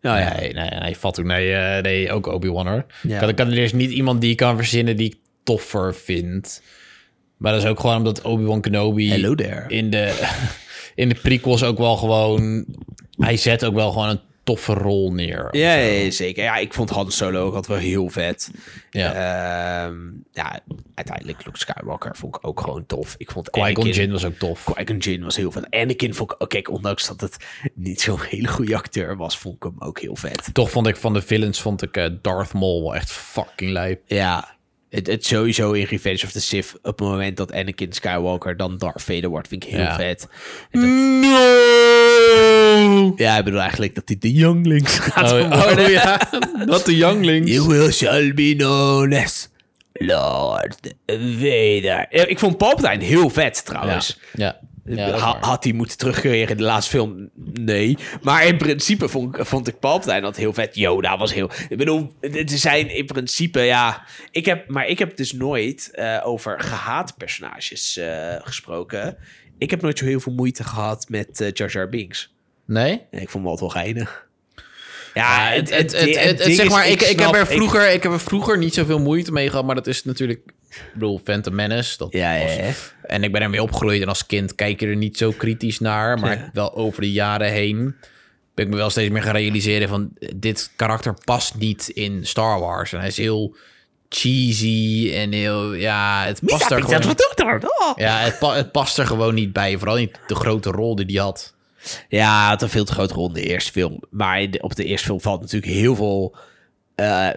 Speaker 2: Nou ja,
Speaker 1: Nee, nee, nee, Fatou, nee, eh, nee, ook Obi-Wan hoor.
Speaker 2: Ja.
Speaker 1: Ik, kan, er dus niet iemand die ik kan verzinnen die ik toffer vind. Maar dat is ook gewoon omdat Obi-Wan Kenobi
Speaker 2: hello there.
Speaker 1: in de, [laughs] in de prequels ook wel gewoon... Hij zet ook wel gewoon een toffe rol neer.
Speaker 2: Ja, ja, ja, zeker. Ja, ik vond Han Solo ook altijd wel heel vet.
Speaker 1: Ja.
Speaker 2: Ehm, ja, uiteindelijk Luke Skywalker vond ik ook gewoon tof. Ik vond
Speaker 1: Qui-Gon
Speaker 2: Anakin-
Speaker 1: Jinn was ook tof.
Speaker 2: Qui-Gon Jinn was heel vet. Anakin vond ik... oh, Kijk, ondanks dat het niet zo'n [laughs] hele goede acteur was, vond ik hem ook heel vet.
Speaker 1: Toch vond ik van de villains vond ik eh, Darth Maul wel echt fucking lijp.
Speaker 2: Ja, het, het sowieso in Revenge of the Sith... op het moment dat Anakin Skywalker dan Darth Vader wordt, vind ik heel
Speaker 1: Ja.
Speaker 2: vet. En dat- ja, ik bedoel eigenlijk dat hij de younglings [laughs] gaat
Speaker 1: Oh, [laughs]
Speaker 2: vermoorden.
Speaker 1: oh
Speaker 2: [laughs]
Speaker 1: ja, dat de younglings.
Speaker 2: You will shall be known as Lord Vader. Ja, Ik vond Palpatine heel vet
Speaker 1: ja,
Speaker 2: trouwens.
Speaker 1: ja, ja, dat is
Speaker 2: Ha-
Speaker 1: waar.
Speaker 2: had hij moeten terugkeren in de laatste film? Nee. Maar in principe vond, ik- vond ik Palpatine dat heel vet. Yoda was heel... Ik bedoel, het zijn in principe, ja... Ik heb, maar ik heb dus nooit eh, over gehate personages eh, gesproken. Ik heb nooit zo heel veel moeite gehad met eh, Jar Jar Binks.
Speaker 1: Nee?
Speaker 2: En ik vond hem altijd wel geinig.
Speaker 1: Ja, het, het, het, het- het-
Speaker 2: ding
Speaker 1: zeg
Speaker 2: is,
Speaker 1: maar, ik, ik, heb
Speaker 2: snap-
Speaker 1: er vroeger, ik, heb er vroeger niet zoveel moeite mee gehad, maar dat is natuurlijk, ik bedoel, Phantom Menace. Dat
Speaker 2: Ja, ja,
Speaker 1: was-
Speaker 2: ja.
Speaker 1: En ik ben ermee opgegroeid en als kind kijk je er niet zo kritisch naar, maar
Speaker 2: Ja.
Speaker 1: wel over de jaren heen ben ik me wel steeds meer gaan realiseren van eh, dit karakter past niet in Star Wars. En hij is heel cheesy en heel, ja, het
Speaker 2: Niet
Speaker 1: past
Speaker 2: dat
Speaker 1: er
Speaker 2: ik dat
Speaker 1: gewoon,
Speaker 2: wat doet daar. Oh.
Speaker 1: ja, het, pa- het past er gewoon niet bij, vooral niet de grote rol die hij had.
Speaker 2: Ja, het had een veel te grote rol in de eerste film. Maar in de- op de eerste film valt natuurlijk heel veel eh, eh,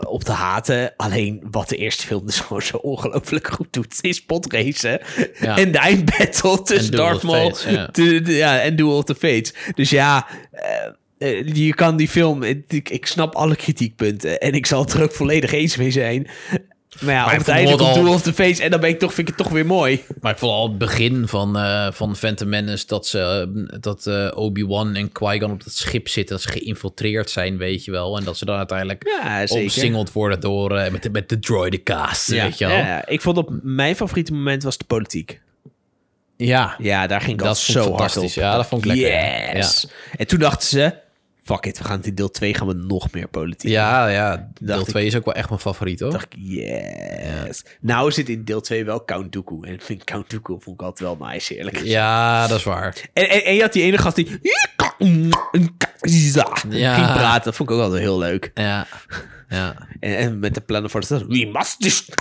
Speaker 2: op te haten. Alleen wat de eerste film dus [laughs] gewoon zo ongelooflijk goed doet, is potracen.
Speaker 1: Ja.
Speaker 2: En de eindbattle tussen
Speaker 1: Duel of
Speaker 2: Darth Maul
Speaker 1: Fates,
Speaker 2: [laughs]
Speaker 1: ja.
Speaker 2: de- de- ja, en Duel of the Fates. Dus ja, eh, eh, je kan die film... Ik, ik snap alle kritiekpunten en ik zal het er ook volledig eens mee zijn... Maar ja,
Speaker 1: ik
Speaker 2: op het
Speaker 1: vond
Speaker 2: einde
Speaker 1: wel
Speaker 2: komt
Speaker 1: dat-
Speaker 2: Duel of the Fates en dan ben ik toch, vind ik het toch weer mooi.
Speaker 1: Maar ik vond al het begin van, eh van Phantom Menace dat, ze, eh, dat eh, Obi-Wan en Qui-Gon op dat schip zitten. Dat ze geïnfiltreerd zijn, weet je wel. En dat ze dan uiteindelijk
Speaker 2: Ja, zeker.
Speaker 1: omsingeld worden door, eh, met, de, met de droidencast, weet je wel. Ja,
Speaker 2: Ja, ik vond op mijn favoriete moment was de politiek. Ja, daar ging ik
Speaker 1: Dat
Speaker 2: altijd
Speaker 1: vond ik
Speaker 2: zo hard op.
Speaker 1: fantastisch. Ja, dat vond ik lekker, ja.
Speaker 2: Yes. En toen dachten ze, fuck it, we gaan in deel 2 gaan we nog meer politiek.
Speaker 1: ja, ja. Deel
Speaker 2: ik-
Speaker 1: 2 is ook wel echt mijn favoriet, hoor.
Speaker 2: Toen dacht ik, yes. Nou zit in deel 2 wel Count Dooku. En [laughs] ik vind Count Dooku vond ik altijd wel nice, eerlijk.
Speaker 1: Ja, dat is waar.
Speaker 2: En, en, en je had die ene gast die... mm,
Speaker 1: Ja.
Speaker 2: Ging praten, dat vond ik ook altijd heel leuk. [laughs]
Speaker 1: Ja, ja.
Speaker 2: En, en met de plannen voor de stad. We must just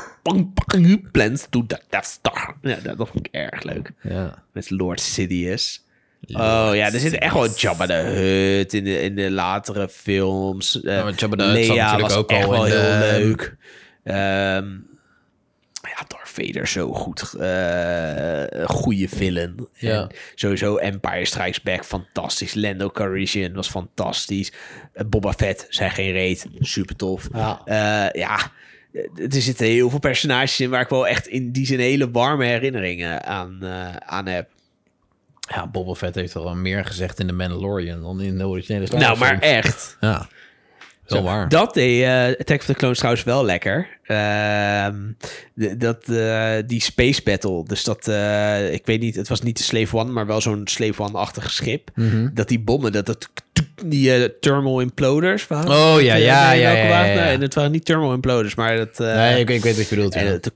Speaker 2: plans to the Death Star. Ja, dat vond ik erg leuk.
Speaker 1: ja.
Speaker 2: Met Lord Sidious. oh ja, er zit echt wel Jabba de Hutt in de, in de latere films. Eh,
Speaker 1: Ja, maar Jabba the Hutt zat natuurlijk
Speaker 2: was
Speaker 1: ook
Speaker 2: echt
Speaker 1: al
Speaker 2: wel
Speaker 1: in
Speaker 2: heel
Speaker 1: de-
Speaker 2: leuk. Ehm, ja, Darth Vader zo goed. eh goede villain.
Speaker 1: Ja.
Speaker 2: En sowieso Empire Strikes Back, fantastisch. Lando Calrissian was fantastisch. Eh, Boba Fett, zijn geen reet, super tof.
Speaker 1: Ja.
Speaker 2: Eh, ja, eh, er zitten heel veel personages in waar ik wel echt in die zin hele warme herinneringen aan, eh, aan heb.
Speaker 1: Ja, Boba Fett heeft al wel meer gezegd in The Mandalorian dan in de originele Star
Speaker 2: Nou,
Speaker 1: Wars
Speaker 2: maar
Speaker 1: film.
Speaker 2: echt.
Speaker 1: Ja, wel waar.
Speaker 2: Dat deed eh Attack of the Clones trouwens wel lekker. Ehm, de- dat, eh, die space battle, dus dat, eh, ik weet niet, het was niet de Slave One, maar wel zo'n Slave One-achtig schip.
Speaker 1: Mhm.
Speaker 2: Dat die bommen, dat, dat die eh, thermal imploders waren.
Speaker 1: Oh, ja,
Speaker 2: Eh,
Speaker 1: ja,
Speaker 2: nee,
Speaker 1: ja,
Speaker 2: welke
Speaker 1: ja, ja,
Speaker 2: waren-
Speaker 1: ja.
Speaker 2: nee, het waren niet thermal imploders, maar dat... eh,
Speaker 1: Nee, ik, ik weet wat je bedoelt.
Speaker 2: en
Speaker 1: ja.
Speaker 2: dat, dat-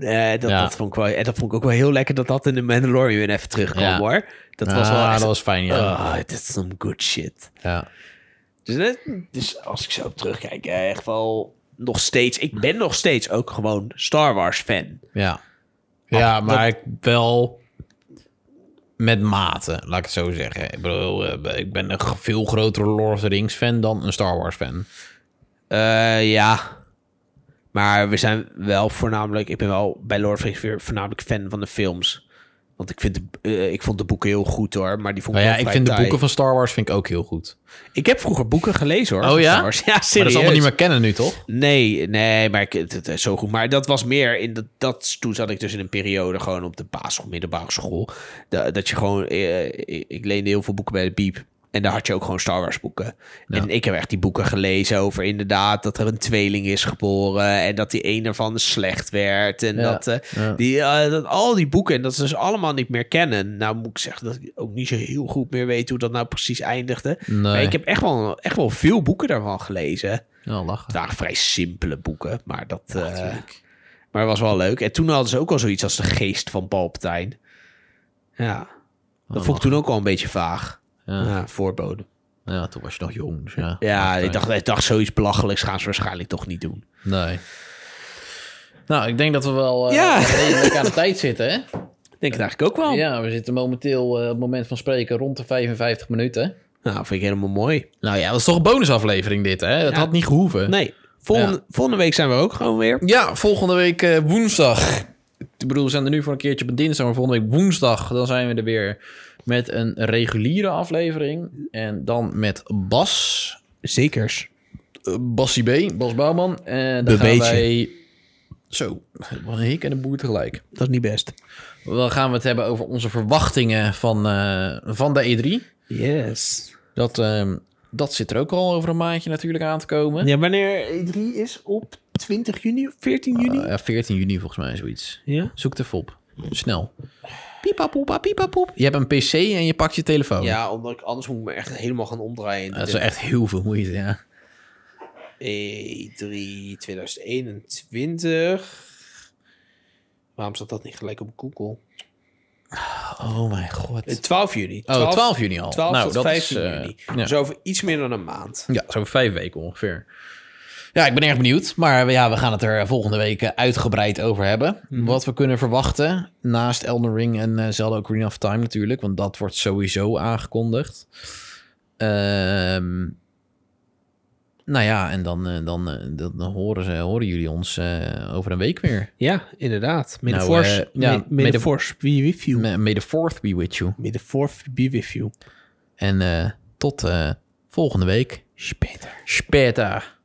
Speaker 2: eh, dat,
Speaker 1: Ja.
Speaker 2: dat vond ik wel, en dat vond ik ook wel heel lekker dat dat in de Mandalorian weer even terugkwam,
Speaker 1: Ja.
Speaker 2: hoor. Dat was wel
Speaker 1: Ah,
Speaker 2: echt...
Speaker 1: dat was fijn, ja.
Speaker 2: Ah, dit is some good shit.
Speaker 1: ja.
Speaker 2: Dus, dat- dus als ik zo op terugkijk, eh, echt wel nog steeds. Ik ben nog steeds ook gewoon Star Wars fan.
Speaker 1: Ja, ja maar ik wel met mate, laat ik het zo zeggen. Ik bedoel, eh, ik ben een g- veel grotere Lord of the Rings fan dan een Star Wars fan.
Speaker 2: Eh, ja. Maar we zijn wel voornamelijk. Ik ben wel bij Lord of the Rings weer voornamelijk fan van de films. Want ik, vind de, eh, ik vond de boeken heel goed hoor, maar die vond ik
Speaker 1: Nou ja,
Speaker 2: wel
Speaker 1: ik
Speaker 2: vrij
Speaker 1: vind de
Speaker 2: taai.
Speaker 1: boeken van Star Wars vind ik ook heel goed.
Speaker 2: Ik heb vroeger boeken gelezen hoor.
Speaker 1: Oh
Speaker 2: van
Speaker 1: ja?
Speaker 2: Star Wars. Ja, serieus.
Speaker 1: Maar dat is allemaal niet meer kennen nu, toch?
Speaker 2: Nee, nee, maar ik, het, het is zo goed. Maar dat was meer in dat, dat. Toen zat ik dus in een periode gewoon op de basisschool, middelbare school. Dat, dat je gewoon. eh, ik, ik leende heel veel boeken bij de Piep. En daar had je ook gewoon Star Wars boeken. En ik heb echt die boeken gelezen over inderdaad dat er een tweeling is geboren. En dat die een ervan slecht werd. En
Speaker 1: Ja,
Speaker 2: dat, eh,
Speaker 1: ja.
Speaker 2: Die, eh, dat al die boeken. En dat ze dus allemaal niet meer kennen. Nou moet ik zeggen dat ik ook niet zo heel goed meer weet hoe dat nou precies eindigde.
Speaker 1: Nee.
Speaker 2: Maar ik heb echt wel, echt wel veel boeken daarvan gelezen.
Speaker 1: Ja, lachen.
Speaker 2: Het waren vrij simpele boeken, maar dat eh, maar het was wel leuk. En toen hadden ze ook al zoiets als de geest van Palpatine. Ja, dat vond ik toen ook al een beetje vaag.
Speaker 1: Oh, Ja.
Speaker 2: Ja, voorbode.
Speaker 1: Ja, toen was je nog jong. Dus ja,
Speaker 2: Ja, ik dacht, ik dacht zoiets belachelijks gaan ze waarschijnlijk toch niet doen.
Speaker 1: Nee. Nou, ik denk dat we wel eh
Speaker 2: Ja.
Speaker 1: [laughs] redelijk aan de tijd zitten, hè?
Speaker 2: Denk ik eigenlijk ook wel.
Speaker 1: Ja, we zitten momenteel eh, op het moment van spreken rond de 55 minuten.
Speaker 2: Nou, vind ik helemaal mooi.
Speaker 1: Nou ja, dat is toch een bonusaflevering dit, hè? Dat
Speaker 2: Ja.
Speaker 1: had niet gehoeven.
Speaker 2: Nee, volgende,
Speaker 1: Ja.
Speaker 2: volgende week zijn we ook gewoon weer.
Speaker 1: Ja, volgende week eh, woensdag. Ik bedoel, we zijn er nu voor een keertje op een dinsdag, maar volgende week woensdag... dan zijn we er weer met een reguliere aflevering. En dan met Bas.
Speaker 2: Zekers.
Speaker 1: eh, Bassie B, Bas Bouwman. En dan gaan
Speaker 2: Bebeetje.
Speaker 1: wij... Zo, wat een hik en een boer tegelijk.
Speaker 2: Dat is niet best.
Speaker 1: Dan gaan we het hebben over onze verwachtingen van, eh, van de E3.
Speaker 2: Yes.
Speaker 1: Dat, ehm, dat zit er ook al over een maandje natuurlijk aan te komen.
Speaker 2: Ja, wanneer E3 is op 20 juni, 14 juni?
Speaker 1: Eh, 14 juni volgens mij zoiets.
Speaker 2: ja.
Speaker 1: Zoek het even op. Snel. Piepapoepa, piepapoep. Je hebt een pc en je pakt je telefoon.
Speaker 2: Ja, omdat ik anders moet ik me echt helemaal gaan omdraaien.
Speaker 1: Dat is wel echt heel veel moeite, ja.
Speaker 2: E3 2021. Waarom staat dat niet gelijk op Google?
Speaker 1: Oh mijn god.
Speaker 2: Eh, 12 juni.
Speaker 1: oh, 12 juni al.
Speaker 2: 12
Speaker 1: nou,
Speaker 2: tot
Speaker 1: dat
Speaker 2: 15
Speaker 1: is, eh,
Speaker 2: juni.
Speaker 1: ja.
Speaker 2: Dus over iets meer dan een maand.
Speaker 1: Ja, zo'n vijf weken ongeveer. Ja, ik ben erg benieuwd. Maar ja, we gaan het er volgende week eh, uitgebreid over hebben. Wat we kunnen verwachten. Naast Elden Ring en eh, Zelda Ocarina of Time natuurlijk. Want dat wordt sowieso aangekondigd. Ehm, nou ja, en dan, eh, dan, eh, dan, dan horen, ze, horen jullie ons eh, over een week weer.
Speaker 2: Ja, inderdaad. May
Speaker 1: the
Speaker 2: the
Speaker 1: Nou, force- eh, ja, may- may may the the-
Speaker 2: be with you.
Speaker 1: May may the fourth be with you.
Speaker 2: May the fourth be with you.
Speaker 1: En eh, tot eh, volgende week. Später. Später.